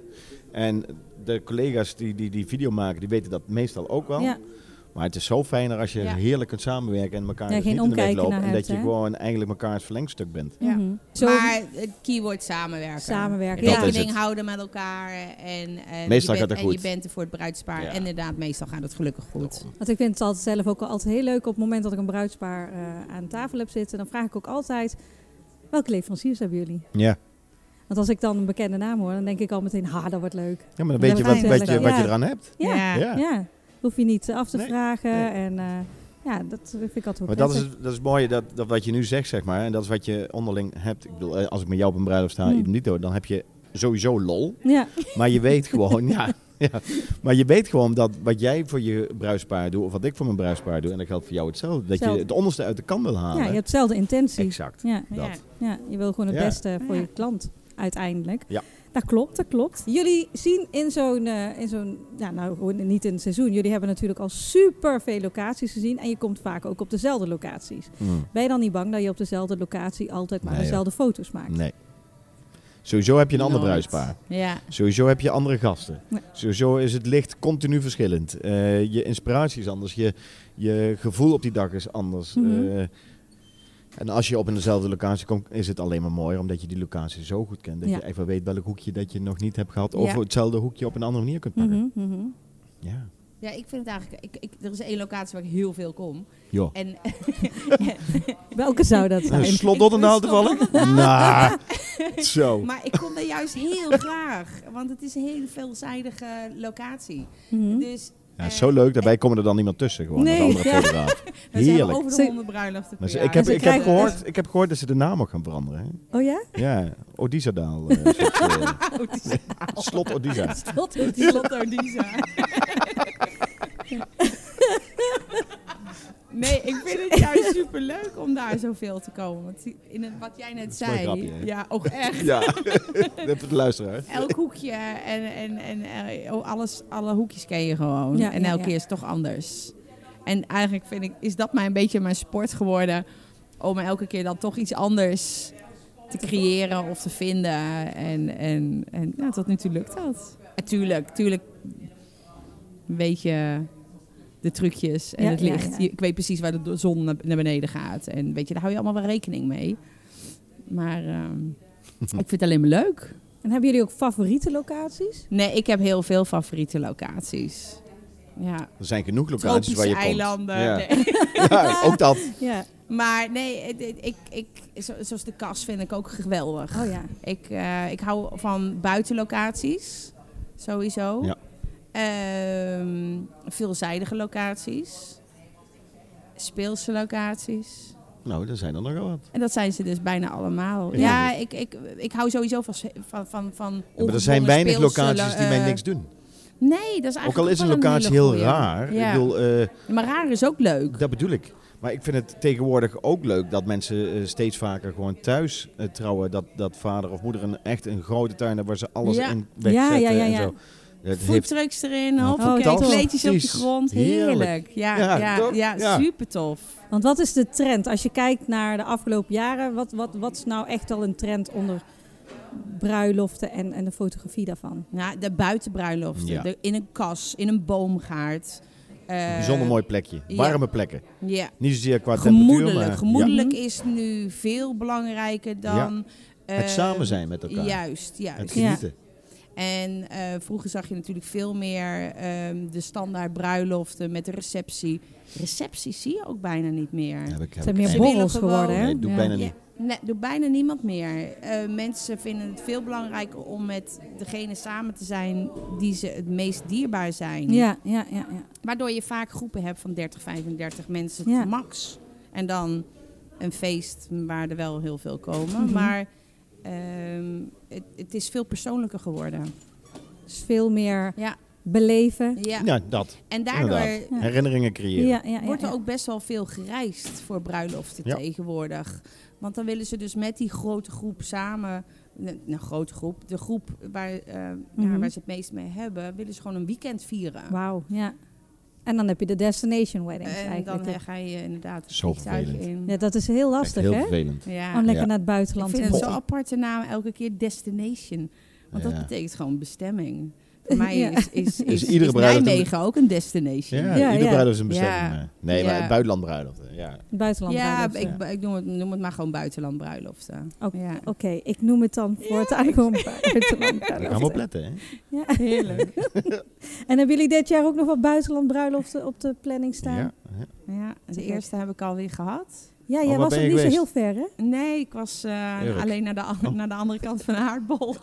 [SPEAKER 4] En de collega's die, die die video maken, die weten dat meestal ook wel.
[SPEAKER 1] Ja.
[SPEAKER 4] Maar het is zo fijner als je
[SPEAKER 3] Ja.
[SPEAKER 4] heerlijk kunt samenwerken en elkaar
[SPEAKER 1] Ja,
[SPEAKER 4] dus
[SPEAKER 1] geen
[SPEAKER 4] niet in de weg
[SPEAKER 1] omkijken
[SPEAKER 4] loopt.
[SPEAKER 1] naar
[SPEAKER 4] En dat
[SPEAKER 1] huid,
[SPEAKER 4] je
[SPEAKER 1] hè?
[SPEAKER 4] gewoon eigenlijk mekaars verlengstuk bent.
[SPEAKER 3] Ja.
[SPEAKER 1] Mhm. Zo
[SPEAKER 3] Maar het keyword samenwerken.
[SPEAKER 2] Samenwerken.
[SPEAKER 4] Dat
[SPEAKER 2] ja.
[SPEAKER 4] is het.
[SPEAKER 3] Rekening houden met elkaar. En, en
[SPEAKER 4] Meestal
[SPEAKER 3] je
[SPEAKER 4] gaat
[SPEAKER 3] bent,
[SPEAKER 4] het
[SPEAKER 3] en
[SPEAKER 4] goed.
[SPEAKER 3] je bent er voor het bruidspaar.
[SPEAKER 4] Ja.
[SPEAKER 3] En inderdaad, meestal gaat het gelukkig goed.
[SPEAKER 2] Want ik vind het altijd zelf ook altijd heel leuk. Op het moment dat ik een bruidspaar eh, aan tafel heb zitten, dan vraag ik ook altijd: welke leveranciers hebben jullie?
[SPEAKER 4] Ja.
[SPEAKER 2] Want als ik dan een bekende naam hoor, dan denk ik al meteen: ha, dat wordt leuk.
[SPEAKER 4] ja, maar dan
[SPEAKER 3] Ja,
[SPEAKER 4] weet je wat,
[SPEAKER 2] fijn.
[SPEAKER 4] wat, je, wat je
[SPEAKER 2] Ja.
[SPEAKER 4] eraan hebt.
[SPEAKER 2] Ja, ja.
[SPEAKER 3] Ja.
[SPEAKER 2] hoef je niet eh, af te
[SPEAKER 4] Nee.
[SPEAKER 2] vragen.
[SPEAKER 4] Nee.
[SPEAKER 2] En eh, ja, dat vind ik altijd wel
[SPEAKER 4] Maar dat is,
[SPEAKER 2] prettig.
[SPEAKER 4] dat is mooi, dat, dat wat je nu zegt, zeg maar. En dat is wat je onderling hebt. Ik bedoel, eh, als ik met jou op een bruiloft sta,
[SPEAKER 2] Hmm.
[SPEAKER 4] idem dito, dan heb je sowieso lol.
[SPEAKER 2] Ja,
[SPEAKER 4] Maar je weet gewoon, *laughs* ja, ja. Maar je weet gewoon dat wat jij voor je bruispaar doet, of wat ik voor mijn bruispaar doe, en dat geldt voor jou hetzelfde. Dat je
[SPEAKER 2] Hetzelfde.
[SPEAKER 4] het onderste uit de kan wil
[SPEAKER 2] ja, je
[SPEAKER 4] halen.
[SPEAKER 2] hebt dezelfde intentie.
[SPEAKER 4] Exact.
[SPEAKER 2] Ja,
[SPEAKER 4] Dat.
[SPEAKER 2] ja, je wil gewoon het
[SPEAKER 4] Ja.
[SPEAKER 2] beste voor
[SPEAKER 3] Ja.
[SPEAKER 2] je klant uiteindelijk.
[SPEAKER 4] Ja.
[SPEAKER 2] Dat klopt, dat klopt. Jullie zien in zo'n, eh, in zo'n ja, nou gewoon niet in het seizoen, jullie hebben natuurlijk al super veel locaties gezien en je komt vaak ook op dezelfde locaties.
[SPEAKER 4] Hmm.
[SPEAKER 2] Ben je dan niet bang dat je op dezelfde locatie altijd maar
[SPEAKER 4] Nee, joh.
[SPEAKER 2] dezelfde foto's maakt?
[SPEAKER 4] Nee. Sowieso heb je een ander
[SPEAKER 3] Nooit.
[SPEAKER 4] bruispaar.
[SPEAKER 3] Ja.
[SPEAKER 4] Sowieso heb je andere gasten.
[SPEAKER 2] Nee.
[SPEAKER 4] Sowieso is het licht continu verschillend. Eh, je inspiratie is anders. Je, je gevoel op die dag is anders.
[SPEAKER 2] Mhm.
[SPEAKER 4] Eh, en als je op eenzelfde locatie komt, is het alleen maar mooier. Omdat je die locatie zo goed kent. Dat
[SPEAKER 2] Ja.
[SPEAKER 4] je echt wel weet welk hoekje dat je nog niet hebt gehad.
[SPEAKER 3] Ja.
[SPEAKER 4] Of hetzelfde hoekje op een andere manier kunt pakken.
[SPEAKER 2] Mhm, mhm.
[SPEAKER 4] Ja.
[SPEAKER 3] ja, ik vind het eigenlijk... Ik, ik, er is één locatie waar ik heel veel kom.
[SPEAKER 4] Joh.
[SPEAKER 3] En *laughs*
[SPEAKER 2] Welke zou
[SPEAKER 4] *laughs*
[SPEAKER 2] dat zijn?
[SPEAKER 4] Een *laughs* Nou, slot
[SPEAKER 3] *laughs*
[SPEAKER 4] Dottendaal
[SPEAKER 2] *laughs*
[SPEAKER 4] toevallig? Nou, zo.
[SPEAKER 3] Maar ik kom daar juist heel graag. Want het is een hele veelzijdige locatie.
[SPEAKER 2] Mhm.
[SPEAKER 3] Dus
[SPEAKER 4] Ja, zo leuk. Daarbij komen er dan niemand tussen. Gewoon,
[SPEAKER 2] Nee,
[SPEAKER 4] als andere
[SPEAKER 2] ja. *laughs*
[SPEAKER 4] fotograaf.
[SPEAKER 3] we zijn
[SPEAKER 4] Heerlijk.
[SPEAKER 3] over de
[SPEAKER 2] Ze-
[SPEAKER 3] 100 bruiloften per
[SPEAKER 4] Maar ze-
[SPEAKER 3] jaar.
[SPEAKER 4] ik, heb,
[SPEAKER 2] ze
[SPEAKER 4] ik, heb
[SPEAKER 2] krijgen-
[SPEAKER 3] *laughs*
[SPEAKER 4] gehoord, ik heb gehoord dat ze de naam ook gaan veranderen. Hè?
[SPEAKER 2] Oh ja?
[SPEAKER 4] Ja,
[SPEAKER 3] *laughs*
[SPEAKER 4] Odisadaal. eh, is het, eh, slot Odisa.
[SPEAKER 2] Slot
[SPEAKER 3] Die Lotto Disa. *laughs* Nee, ik vind het juist superleuk om daar zoveel te komen. Want die- in het, wat jij net
[SPEAKER 4] een
[SPEAKER 3] zei,
[SPEAKER 4] mooi grapje, hè?
[SPEAKER 3] ja, ook echt.
[SPEAKER 4] *laughs* Ja, dat voor de luisteraar.
[SPEAKER 3] Elk hoekje en, en, en eh, oh, alles, alle hoekjes ken je gewoon.
[SPEAKER 2] Ja,
[SPEAKER 3] en
[SPEAKER 2] ja,
[SPEAKER 3] elke
[SPEAKER 2] ja.
[SPEAKER 3] keer is het toch anders. En eigenlijk vind ik, is dat mij een beetje mijn sport geworden. Om elke keer dan toch iets anders te creëren of te vinden. En, en, en nou, tot nu toe lukt dat. Natuurlijk, tuurlijk weet je de trucjes en
[SPEAKER 2] Ja,
[SPEAKER 3] het
[SPEAKER 2] ja,
[SPEAKER 3] licht.
[SPEAKER 2] ja.
[SPEAKER 3] Je- Ik weet precies waar de zon naar naar beneden gaat. En weet je, daar hou je allemaal wel rekening mee. Maar ehm, ik vind het alleen maar leuk.
[SPEAKER 2] En hebben jullie ook favoriete locaties?
[SPEAKER 3] Nee, ik heb heel veel favoriete locaties. Ja.
[SPEAKER 4] Er zijn genoeg locaties
[SPEAKER 3] Tropische
[SPEAKER 4] waar je komt.
[SPEAKER 3] eilanden.
[SPEAKER 4] Ja.
[SPEAKER 3] nee. *laughs*
[SPEAKER 4] Ja, ook dat.
[SPEAKER 2] Ja.
[SPEAKER 3] Maar nee, het- het- ik, ik, zo- zoals de kas vind ik ook geweldig.
[SPEAKER 2] Oh ja.
[SPEAKER 3] Ik, eh, ik hou van buitenlocaties, sowieso.
[SPEAKER 4] Ja.
[SPEAKER 3] Ehm, veelzijdige locaties. Speelse locaties.
[SPEAKER 4] Nou, er zijn er nog wel wat.
[SPEAKER 3] En dat zijn ze dus bijna allemaal.
[SPEAKER 4] Ja.
[SPEAKER 3] Ja, ik, ik, ik hou sowieso van, van, van, van
[SPEAKER 4] Ja, maar er zijn
[SPEAKER 3] ongedwongen
[SPEAKER 4] weinig
[SPEAKER 3] speelse,
[SPEAKER 4] locaties die mij
[SPEAKER 3] eh,
[SPEAKER 4] niks doen.
[SPEAKER 3] Nee, dat is eigenlijk
[SPEAKER 4] Ook al is een
[SPEAKER 3] wel
[SPEAKER 4] locatie
[SPEAKER 3] hele
[SPEAKER 4] heel
[SPEAKER 3] goeie.
[SPEAKER 4] raar.
[SPEAKER 3] Ja.
[SPEAKER 4] Ik bedoel, eh,
[SPEAKER 3] Maar raar is ook leuk.
[SPEAKER 4] dat bedoel ik. Maar ik vind het tegenwoordig ook leuk dat mensen eh, steeds vaker gewoon thuis eh, trouwen. Dat, dat vader of moeder een, echt een grote tuin hebben waar ze alles
[SPEAKER 3] Ja.
[SPEAKER 4] in
[SPEAKER 2] Ja, ja,
[SPEAKER 4] wegzetten
[SPEAKER 2] ja, ja.
[SPEAKER 4] en zo. Het heeft
[SPEAKER 3] Foodtrucks erin,
[SPEAKER 4] Ja,
[SPEAKER 3] hoppakee,
[SPEAKER 2] fantastisch.
[SPEAKER 3] kleedjes op de grond. Heerlijk.
[SPEAKER 4] Heerlijk.
[SPEAKER 3] Ja,
[SPEAKER 4] Ja,
[SPEAKER 3] ja, ja,
[SPEAKER 4] toch? Ja.
[SPEAKER 3] super tof.
[SPEAKER 2] Want wat is de trend? Als je kijkt naar de afgelopen jaren, wat, wat, wat is nou echt al een trend onder bruiloften en, en de fotografie daarvan?
[SPEAKER 3] Nou, de buitenbruiloften,
[SPEAKER 4] Ja.
[SPEAKER 3] de- in een kas, in een boomgaard. Eh,
[SPEAKER 4] een bijzonder mooi plekje.
[SPEAKER 3] ja.
[SPEAKER 4] Warme plekken.
[SPEAKER 3] Ja.
[SPEAKER 4] Niet zozeer qua temperatuur,
[SPEAKER 3] Gemoedelijk.
[SPEAKER 4] maar ja,
[SPEAKER 3] Gemoedelijk
[SPEAKER 2] Ja.
[SPEAKER 3] is nu veel belangrijker dan... eh,
[SPEAKER 4] het samen zijn met elkaar.
[SPEAKER 3] Juist, juist.
[SPEAKER 4] Het
[SPEAKER 2] Ja.
[SPEAKER 4] genieten.
[SPEAKER 3] En eh, vroeger zag je natuurlijk veel meer ehm, de standaard bruiloften met de receptie. Recepties zie je ook bijna niet meer.
[SPEAKER 4] Heb ik, heb
[SPEAKER 2] Het zijn
[SPEAKER 4] ik
[SPEAKER 2] meer
[SPEAKER 3] Ze willen
[SPEAKER 2] borrels
[SPEAKER 3] gewoon-
[SPEAKER 2] geworden, hè?
[SPEAKER 4] Nee, doe
[SPEAKER 2] Ja.
[SPEAKER 4] bijna
[SPEAKER 3] Ja,
[SPEAKER 4] niet.
[SPEAKER 3] nee, doet bijna niemand meer. Eh, mensen vinden het veel belangrijker om met degene samen te zijn die ze het meest dierbaar zijn.
[SPEAKER 2] Ja, ja, ja. ja.
[SPEAKER 3] Waardoor je vaak groepen hebt van 30, 35 mensen
[SPEAKER 2] Ja.
[SPEAKER 3] max. En dan een feest waar er wel heel veel komen.
[SPEAKER 2] Mhm.
[SPEAKER 3] Maar ehm, het, het is veel persoonlijker geworden.
[SPEAKER 2] Dus veel meer
[SPEAKER 3] Ja.
[SPEAKER 2] beleven.
[SPEAKER 3] Ja.
[SPEAKER 4] Ja, dat.
[SPEAKER 3] En daardoor
[SPEAKER 4] inderdaad.
[SPEAKER 2] Ja.
[SPEAKER 4] Herinneringen creëren.
[SPEAKER 2] Ja, ja, ja,
[SPEAKER 3] wordt er
[SPEAKER 2] ja.
[SPEAKER 3] ook best wel veel gereisd voor bruiloften
[SPEAKER 4] Ja.
[SPEAKER 3] tegenwoordig. Want dan willen ze dus met die grote groep samen, nou nou, grote groep, de groep waar, eh, ja,
[SPEAKER 2] Mhm.
[SPEAKER 3] waar ze het meest mee hebben, willen ze gewoon een weekend vieren.
[SPEAKER 2] Wauw, ja. En dan heb je de destination weddings
[SPEAKER 3] en
[SPEAKER 2] eigenlijk.
[SPEAKER 3] dan eh, ga je inderdaad het
[SPEAKER 4] Zo
[SPEAKER 3] vliegtuig
[SPEAKER 4] vervelend.
[SPEAKER 3] in.
[SPEAKER 2] ja, dat is heel
[SPEAKER 4] Echt
[SPEAKER 2] lastig,
[SPEAKER 4] heel
[SPEAKER 2] hè?
[SPEAKER 4] vervelend.
[SPEAKER 3] Ja.
[SPEAKER 2] Om lekker
[SPEAKER 4] Ja.
[SPEAKER 2] naar het
[SPEAKER 3] Ik
[SPEAKER 2] buitenland
[SPEAKER 3] vind
[SPEAKER 2] te
[SPEAKER 3] het zo'n
[SPEAKER 2] gaan.
[SPEAKER 4] Goh.
[SPEAKER 3] aparte naam elke keer destination. Want
[SPEAKER 4] Ja.
[SPEAKER 3] dat betekent gewoon bestemming. Voor mij
[SPEAKER 2] Ja.
[SPEAKER 3] is, is, is,
[SPEAKER 4] Dus
[SPEAKER 3] is,
[SPEAKER 4] iedere bruiloft-
[SPEAKER 3] Nijmegen ook een destination.
[SPEAKER 4] Ja,
[SPEAKER 2] Ja,
[SPEAKER 4] ieder
[SPEAKER 2] ja.
[SPEAKER 4] bruiloft is een bestemming.
[SPEAKER 3] Ja.
[SPEAKER 4] hè. Nee, maar
[SPEAKER 3] Ja.
[SPEAKER 4] het buitenland bruiloft. hè. Ja.
[SPEAKER 2] Buitenland.
[SPEAKER 3] Ja,
[SPEAKER 2] bruiloft.
[SPEAKER 3] ik, ik noem, het, noem het maar gewoon buitenlandbruiloften.
[SPEAKER 2] Oké.
[SPEAKER 3] Ja.
[SPEAKER 2] Oké, ik noem het dan voortaan gewoon *laughs* buitenland.
[SPEAKER 4] Daar gaan we op letten. Hè?
[SPEAKER 2] Ja.
[SPEAKER 3] Heerlijk.
[SPEAKER 2] En hebben jullie dit jaar ook nog wat buitenland bruiloften op de planning staan?
[SPEAKER 4] Ja.
[SPEAKER 2] Ja,
[SPEAKER 4] ja.
[SPEAKER 3] Ja, de
[SPEAKER 2] gek.
[SPEAKER 3] eerste heb ik alweer gehad.
[SPEAKER 2] jij
[SPEAKER 4] waar
[SPEAKER 2] was
[SPEAKER 4] ben
[SPEAKER 2] nog
[SPEAKER 4] je
[SPEAKER 2] niet zo heel
[SPEAKER 4] geweest?
[SPEAKER 2] ver, hè? *laughs*
[SPEAKER 3] Nee, ik was eh,
[SPEAKER 4] Heerlijk.
[SPEAKER 3] alleen naar de, an- naar de andere kant van de
[SPEAKER 2] *laughs*
[SPEAKER 3] aardbol.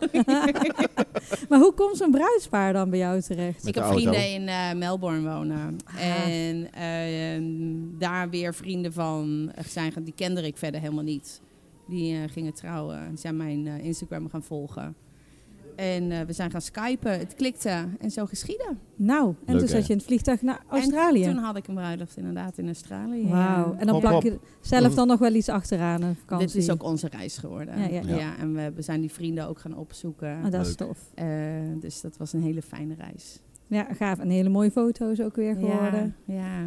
[SPEAKER 2] Maar hoe komt zo'n bruidspaar dan bij jou terecht?
[SPEAKER 4] Met
[SPEAKER 3] ik
[SPEAKER 4] de
[SPEAKER 3] heb
[SPEAKER 4] auto.
[SPEAKER 3] vrienden in eh, Melbourne wonen.
[SPEAKER 2] Ah.
[SPEAKER 3] En ehm, daar weer vrienden van zijn. gaan- Die kende ik verder helemaal niet. Die eh, gingen trouwen. Die zijn mijn eh, Instagram gaan volgen. En eh, we zijn gaan skypen. Het klikte. En zo geschieden.
[SPEAKER 2] Nou, en
[SPEAKER 4] Leuk,
[SPEAKER 2] toen
[SPEAKER 4] hè?
[SPEAKER 2] zat je in het vliegtuig naar
[SPEAKER 3] En
[SPEAKER 2] Australië.
[SPEAKER 3] toen had ik een bruiloft inderdaad in Australië. ja.
[SPEAKER 2] Wauw. En dan
[SPEAKER 4] Hop,
[SPEAKER 2] plak
[SPEAKER 4] hop. Hm.
[SPEAKER 2] je zelf dan nog wel iets achteraan een vakantie.
[SPEAKER 3] Dit is ook onze reis geworden.
[SPEAKER 2] Ja, ja.
[SPEAKER 4] Ja.
[SPEAKER 3] en we, we zijn die vrienden ook gaan opzoeken.
[SPEAKER 2] Ah, dat is
[SPEAKER 4] Leuk.
[SPEAKER 2] tof.
[SPEAKER 3] Eh, dus dat was een hele fijne reis.
[SPEAKER 2] Ja, gaaf. En hele mooie foto's ook weer geworden.
[SPEAKER 3] Ja, ja.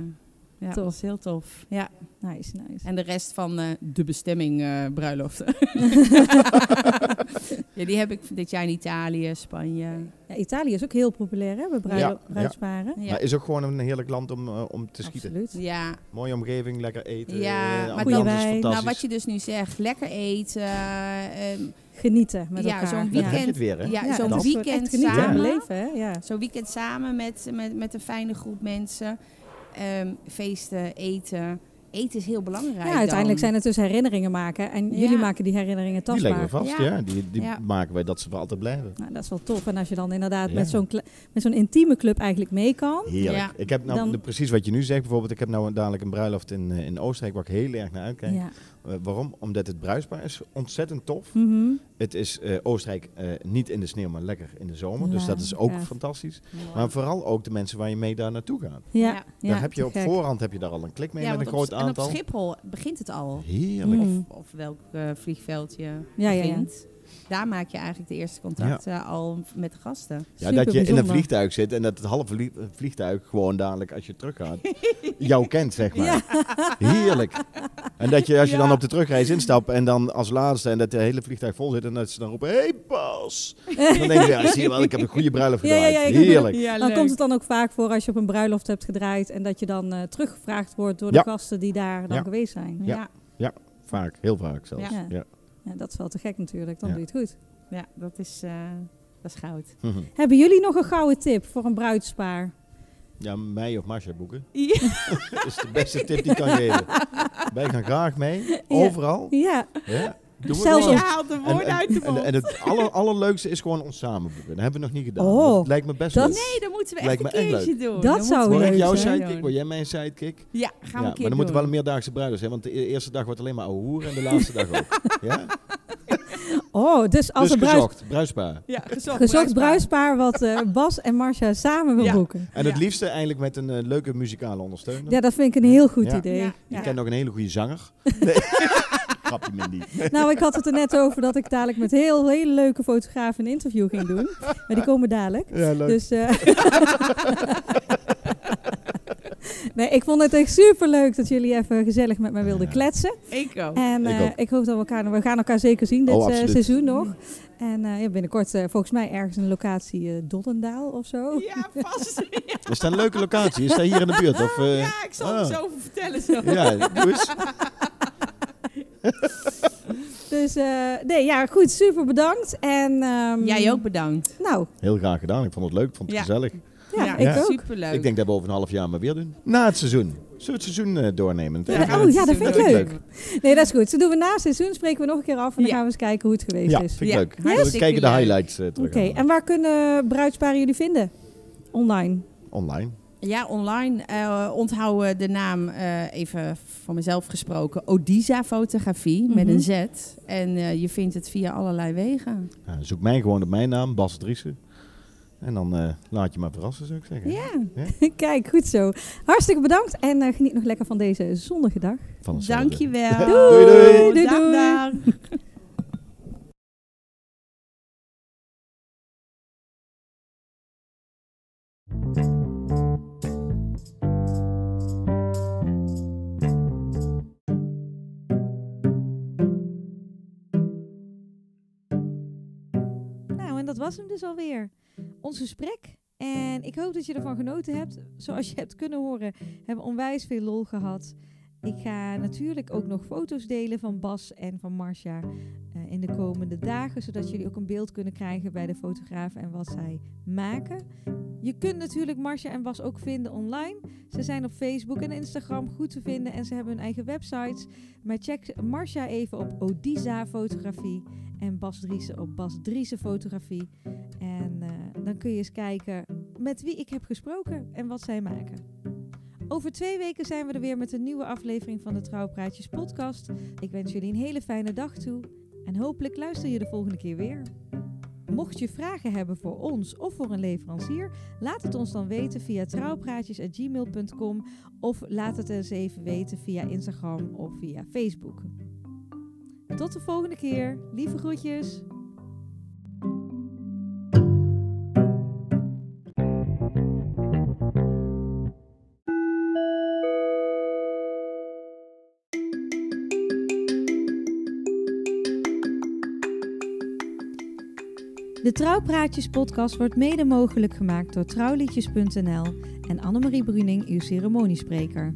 [SPEAKER 3] ja
[SPEAKER 2] Tof.
[SPEAKER 3] dat was heel tof. Ja.
[SPEAKER 2] Nice, nice.
[SPEAKER 3] En de rest van eh, de bestemming eh
[SPEAKER 2] *laughs*
[SPEAKER 3] bruiloften. ja, die heb ik dit jaar in Italië, Spanje.
[SPEAKER 2] Ja, Italië is ook heel populair, hè, bij bruilo-
[SPEAKER 4] Ja, ja.
[SPEAKER 2] bruidsparen.
[SPEAKER 4] Maar
[SPEAKER 3] Ja,
[SPEAKER 4] is ook gewoon een heerlijk land om, eh, om te schieten.
[SPEAKER 2] Absoluut.
[SPEAKER 3] ja.
[SPEAKER 4] Mooie omgeving, lekker eten.
[SPEAKER 3] Ja,
[SPEAKER 4] eh,
[SPEAKER 3] maar
[SPEAKER 4] ambiance
[SPEAKER 2] dan-
[SPEAKER 4] is
[SPEAKER 2] Nou,
[SPEAKER 4] fantastisch.
[SPEAKER 3] nou wat je dus nu zegt, lekker eten. ehm,
[SPEAKER 2] Genieten met
[SPEAKER 3] Ja,
[SPEAKER 2] elkaar.
[SPEAKER 3] zo'n
[SPEAKER 4] Dan
[SPEAKER 3] weekend-
[SPEAKER 4] heb je het weer, hè?
[SPEAKER 3] ja,
[SPEAKER 2] Ja,
[SPEAKER 3] zo'n
[SPEAKER 2] dat is voor
[SPEAKER 3] weekend
[SPEAKER 2] echt genieten,
[SPEAKER 4] samen.
[SPEAKER 2] Ja, beleven, hè? Ja.
[SPEAKER 3] Zo'n weekend samen met, met, met een fijne groep mensen. Ehm, feesten, eten. Eten is heel belangrijk.
[SPEAKER 2] ja, uiteindelijk
[SPEAKER 3] dan.
[SPEAKER 2] zijn het dus herinneringen maken. En
[SPEAKER 3] Ja.
[SPEAKER 2] jullie maken die herinneringen
[SPEAKER 4] die leggen we
[SPEAKER 2] tastbaar.
[SPEAKER 4] vast, ja.
[SPEAKER 3] Ja.
[SPEAKER 4] Die, die
[SPEAKER 3] Ja.
[SPEAKER 4] maken wij dat ze voor altijd blijven.
[SPEAKER 2] Nou, dat is wel tof. En als je dan inderdaad
[SPEAKER 4] Ja.
[SPEAKER 2] met zo'n kle- met zo'n intieme club eigenlijk mee kan.
[SPEAKER 4] Heerlijk.
[SPEAKER 3] Ja.
[SPEAKER 4] Ik heb nou
[SPEAKER 2] Dan-
[SPEAKER 4] de- precies wat je nu zegt. Bijvoorbeeld, ik heb nou dadelijk een bruiloft in, eh, in Oostenrijk waar ik heel erg naar uitkijk.
[SPEAKER 2] Ja.
[SPEAKER 4] Eh, waarom? Omdat het bruisbaar is. Ontzettend tof.
[SPEAKER 2] Mhm.
[SPEAKER 4] Het is eh, Oostenrijk eh, niet in de sneeuw, maar lekker in de zomer. Dus
[SPEAKER 2] Ja,
[SPEAKER 4] dat is ook
[SPEAKER 2] gaaf.
[SPEAKER 4] fantastisch. Maar vooral ook de mensen waar je mee daar naartoe gaat.
[SPEAKER 2] ja.
[SPEAKER 3] Ja.
[SPEAKER 2] ja,
[SPEAKER 4] daar heb je
[SPEAKER 2] te
[SPEAKER 4] op
[SPEAKER 2] gek.
[SPEAKER 4] voorhand heb je daar al een klik mee
[SPEAKER 3] Ja,
[SPEAKER 4] met een
[SPEAKER 3] want
[SPEAKER 4] groot
[SPEAKER 3] op,
[SPEAKER 4] aantal.
[SPEAKER 3] En op Schiphol begint het al.
[SPEAKER 4] Heerlijk.
[SPEAKER 2] Mm.
[SPEAKER 3] Of, of welk eh, vliegveld je
[SPEAKER 2] Ja, ja, ja.
[SPEAKER 3] vindt. Daar maak je eigenlijk de eerste contacten al met de gasten.
[SPEAKER 4] Ja, dat je in een
[SPEAKER 2] Superbijzonder.
[SPEAKER 4] vliegtuig zit en dat het halve vlie- eh, vliegtuig gewoon dadelijk als je
[SPEAKER 2] *laughs*
[SPEAKER 4] teruggaat jou kent, zeg maar. Heerlijk. En dat je als je dan op de terugreis instapt en dan als laatste en dat de hele vliegtuig vol zit en dat ze dan roepen, hey Bas. Dan denk je, ja, zie je wel, ik heb een goede bruiloft
[SPEAKER 2] Ja, ja,
[SPEAKER 4] gedaan.
[SPEAKER 2] ja, ik heb een-
[SPEAKER 4] Heerlijk.
[SPEAKER 2] Dan komt het dan ook vaak voor als je op een bruiloft hebt gedraaid en dat je dan eh, teruggevraagd wordt door
[SPEAKER 4] Ja.
[SPEAKER 2] de gasten die daar dan
[SPEAKER 4] Ja.
[SPEAKER 2] geweest zijn.
[SPEAKER 4] Ja. Vaak, heel vaak zelfs.
[SPEAKER 3] Ja.
[SPEAKER 2] Ja. Ja, dat is wel te gek natuurlijk, dan
[SPEAKER 4] Ja.
[SPEAKER 2] doe je het goed.
[SPEAKER 3] ja, dat is, eh, dat is goud.
[SPEAKER 4] Mhm.
[SPEAKER 2] Hebben jullie nog een gouden tip voor een bruidspaar?
[SPEAKER 4] Ja, mij of Marcia boeken. *laughs*
[SPEAKER 3] Ja.
[SPEAKER 4] is de beste tip die ik kan geven. Wij gaan graag mee, overal.
[SPEAKER 2] Ja,
[SPEAKER 4] Ja. Doen we
[SPEAKER 2] Zelfs
[SPEAKER 4] gewoon.
[SPEAKER 2] op-
[SPEAKER 3] haalt de
[SPEAKER 4] En,
[SPEAKER 3] woorden uit de
[SPEAKER 4] en, en,
[SPEAKER 3] mond.
[SPEAKER 4] en het aller, allerleukste is gewoon ons samen boeken. Dat hebben we nog niet gedaan.
[SPEAKER 2] Oh,
[SPEAKER 4] dat lijkt me best
[SPEAKER 2] dat-
[SPEAKER 4] leuk.
[SPEAKER 3] Nee, dat moeten we
[SPEAKER 4] Lijkt
[SPEAKER 3] echt
[SPEAKER 4] me
[SPEAKER 3] een
[SPEAKER 4] echt
[SPEAKER 3] keertje doen.
[SPEAKER 2] Dat
[SPEAKER 3] moeten
[SPEAKER 2] zou
[SPEAKER 3] we
[SPEAKER 4] Word
[SPEAKER 2] leuk
[SPEAKER 4] ik
[SPEAKER 3] echt
[SPEAKER 4] jouw
[SPEAKER 2] zijn.
[SPEAKER 3] doen.
[SPEAKER 4] sidekick? Word jij mijn sidekick?
[SPEAKER 3] Ja, gaan we
[SPEAKER 4] ja,
[SPEAKER 3] een keer
[SPEAKER 4] maar dan
[SPEAKER 3] doen.
[SPEAKER 4] moeten wel een meerdaagse bruiloft zijn, want de e- eerste dag wordt alleen maar ouwe hoer en de laatste dag ook. Ja?
[SPEAKER 2] oh, dus als
[SPEAKER 4] dus
[SPEAKER 2] een bruid...
[SPEAKER 4] gezocht, bruisbaar.
[SPEAKER 3] Ja, gezocht,
[SPEAKER 2] Gezocht
[SPEAKER 3] bruisbaar.
[SPEAKER 2] bruispaar wat eh, Bas en Marcia samen wil
[SPEAKER 3] Ja.
[SPEAKER 2] boeken.
[SPEAKER 4] En het
[SPEAKER 3] Ja.
[SPEAKER 4] liefste eigenlijk met een eh, leuke muzikale ondersteuner.
[SPEAKER 2] Ja, dat vind ik een heel goed
[SPEAKER 4] Ja.
[SPEAKER 2] idee.
[SPEAKER 3] Ja.
[SPEAKER 4] Ik ken ook een hele goede zanger. Nee. *laughs* Grapje, Mindy.
[SPEAKER 2] Nou, ik had het er net over dat ik dadelijk met heel hele leuke fotografen een interview ging doen. Maar die komen dadelijk.
[SPEAKER 4] Ja, leuk.
[SPEAKER 2] Dus. eh, *laughs* nee, ik vond het echt super leuk dat jullie even gezellig met mij wilden
[SPEAKER 4] Ja.
[SPEAKER 2] kletsen.
[SPEAKER 3] Ik ook.
[SPEAKER 2] En
[SPEAKER 4] Ik
[SPEAKER 2] eh,
[SPEAKER 4] ook.
[SPEAKER 2] ik hoop dat we elkaar, we gaan elkaar zeker zien dit
[SPEAKER 4] Oh,
[SPEAKER 2] eh,
[SPEAKER 4] absoluut.
[SPEAKER 2] seizoen nog. En eh, ja, binnenkort eh, volgens mij ergens een locatie eh, Doddendaal of zo.
[SPEAKER 3] Ja, vast.
[SPEAKER 4] Is dat een leuke locatie? Is dat hier in de buurt? Of, *laughs* eh,
[SPEAKER 3] Ja, ik zal het
[SPEAKER 4] ah.
[SPEAKER 3] zo over vertellen. Zo.
[SPEAKER 4] Ja, doe eens.
[SPEAKER 2] Dus eh, nee, ja, goed, super bedankt. En, ehm,
[SPEAKER 3] Jij ook bedankt.
[SPEAKER 2] Nou,
[SPEAKER 4] Heel graag gedaan. Ik vond het leuk. Ik vond het
[SPEAKER 3] Ja.
[SPEAKER 4] gezellig.
[SPEAKER 2] ja,
[SPEAKER 3] Ja,
[SPEAKER 2] ik
[SPEAKER 4] Ja.
[SPEAKER 2] ook.
[SPEAKER 3] Superleuk.
[SPEAKER 4] Ik denk dat we over een half jaar maar weer doen. Na het seizoen. Zullen we het seizoen eh, doornemen?
[SPEAKER 2] Ja,
[SPEAKER 4] Even-
[SPEAKER 2] oh, ja, dat vind ik
[SPEAKER 4] leuk.
[SPEAKER 2] Nee, dat is goed. Zo doen we na het seizoen, spreken we nog een keer af en dan
[SPEAKER 3] Ja.
[SPEAKER 2] gaan we eens kijken hoe het geweest
[SPEAKER 4] Ja,
[SPEAKER 2] is.
[SPEAKER 4] vind ik
[SPEAKER 3] Ja,
[SPEAKER 4] leuk.
[SPEAKER 3] hartstikke
[SPEAKER 4] We kijken de
[SPEAKER 3] leuk.
[SPEAKER 4] highlights eh, terug.
[SPEAKER 2] Oké, en waar kunnen bruidsparen jullie vinden? Online.
[SPEAKER 4] Online.
[SPEAKER 3] Ja, online eh onthouden de naam, eh, even voor mezelf gesproken, Odisa Fotografie met
[SPEAKER 2] Mhm.
[SPEAKER 3] een Z. En eh, je vindt het via allerlei wegen.
[SPEAKER 4] Ja, Eh, zoek mij gewoon op mijn naam, Bas Driessen. En dan eh, laat je maar verrassen, zou ik zeggen.
[SPEAKER 3] Ja,
[SPEAKER 2] *laughs* Kijk, goed zo. Hartstikke bedankt en eh, geniet nog lekker van deze zonnige dag.
[SPEAKER 4] Van hetzelfde.
[SPEAKER 3] dankjewel.
[SPEAKER 4] *laughs* Doei, doei.
[SPEAKER 2] Doei,
[SPEAKER 3] Dag,
[SPEAKER 2] doei.
[SPEAKER 3] dag.
[SPEAKER 1] Nou, en dat was hem dus alweer. ons gesprek. En ik hoop dat je ervan genoten hebt. Zoals je hebt kunnen horen, hebben we onwijs veel lol gehad. Ik ga natuurlijk ook nog foto's delen van Bas en van Marcia eh, in de komende dagen, zodat jullie ook een beeld kunnen krijgen bij de fotograaf en wat zij maken. Je kunt natuurlijk Marcia en Bas ook vinden online. Ze zijn op Facebook en Instagram goed te vinden en ze hebben hun eigen websites. Maar check Marcia even op Odisa Fotografie en Bas Driessen op Bas Driessen Fotografie. En eh, dan kun je eens kijken met wie ik heb gesproken en wat zij maken. Over twee weken zijn we er weer met een nieuwe aflevering van de Trouwpraatjes podcast. Ik wens jullie een hele fijne dag toe en hopelijk luister je de volgende keer weer. Mocht je vragen hebben voor ons of voor een leverancier, laat het ons dan weten via trouwpraatjes.gmail.com of laat het eens even weten via Instagram of via Facebook. Tot de volgende keer. Lieve groetjes. De Trouwpraatjes podcast wordt mede mogelijk gemaakt door trouwliedjes.nl en Annemarie Bruning, uw ceremoniespreker.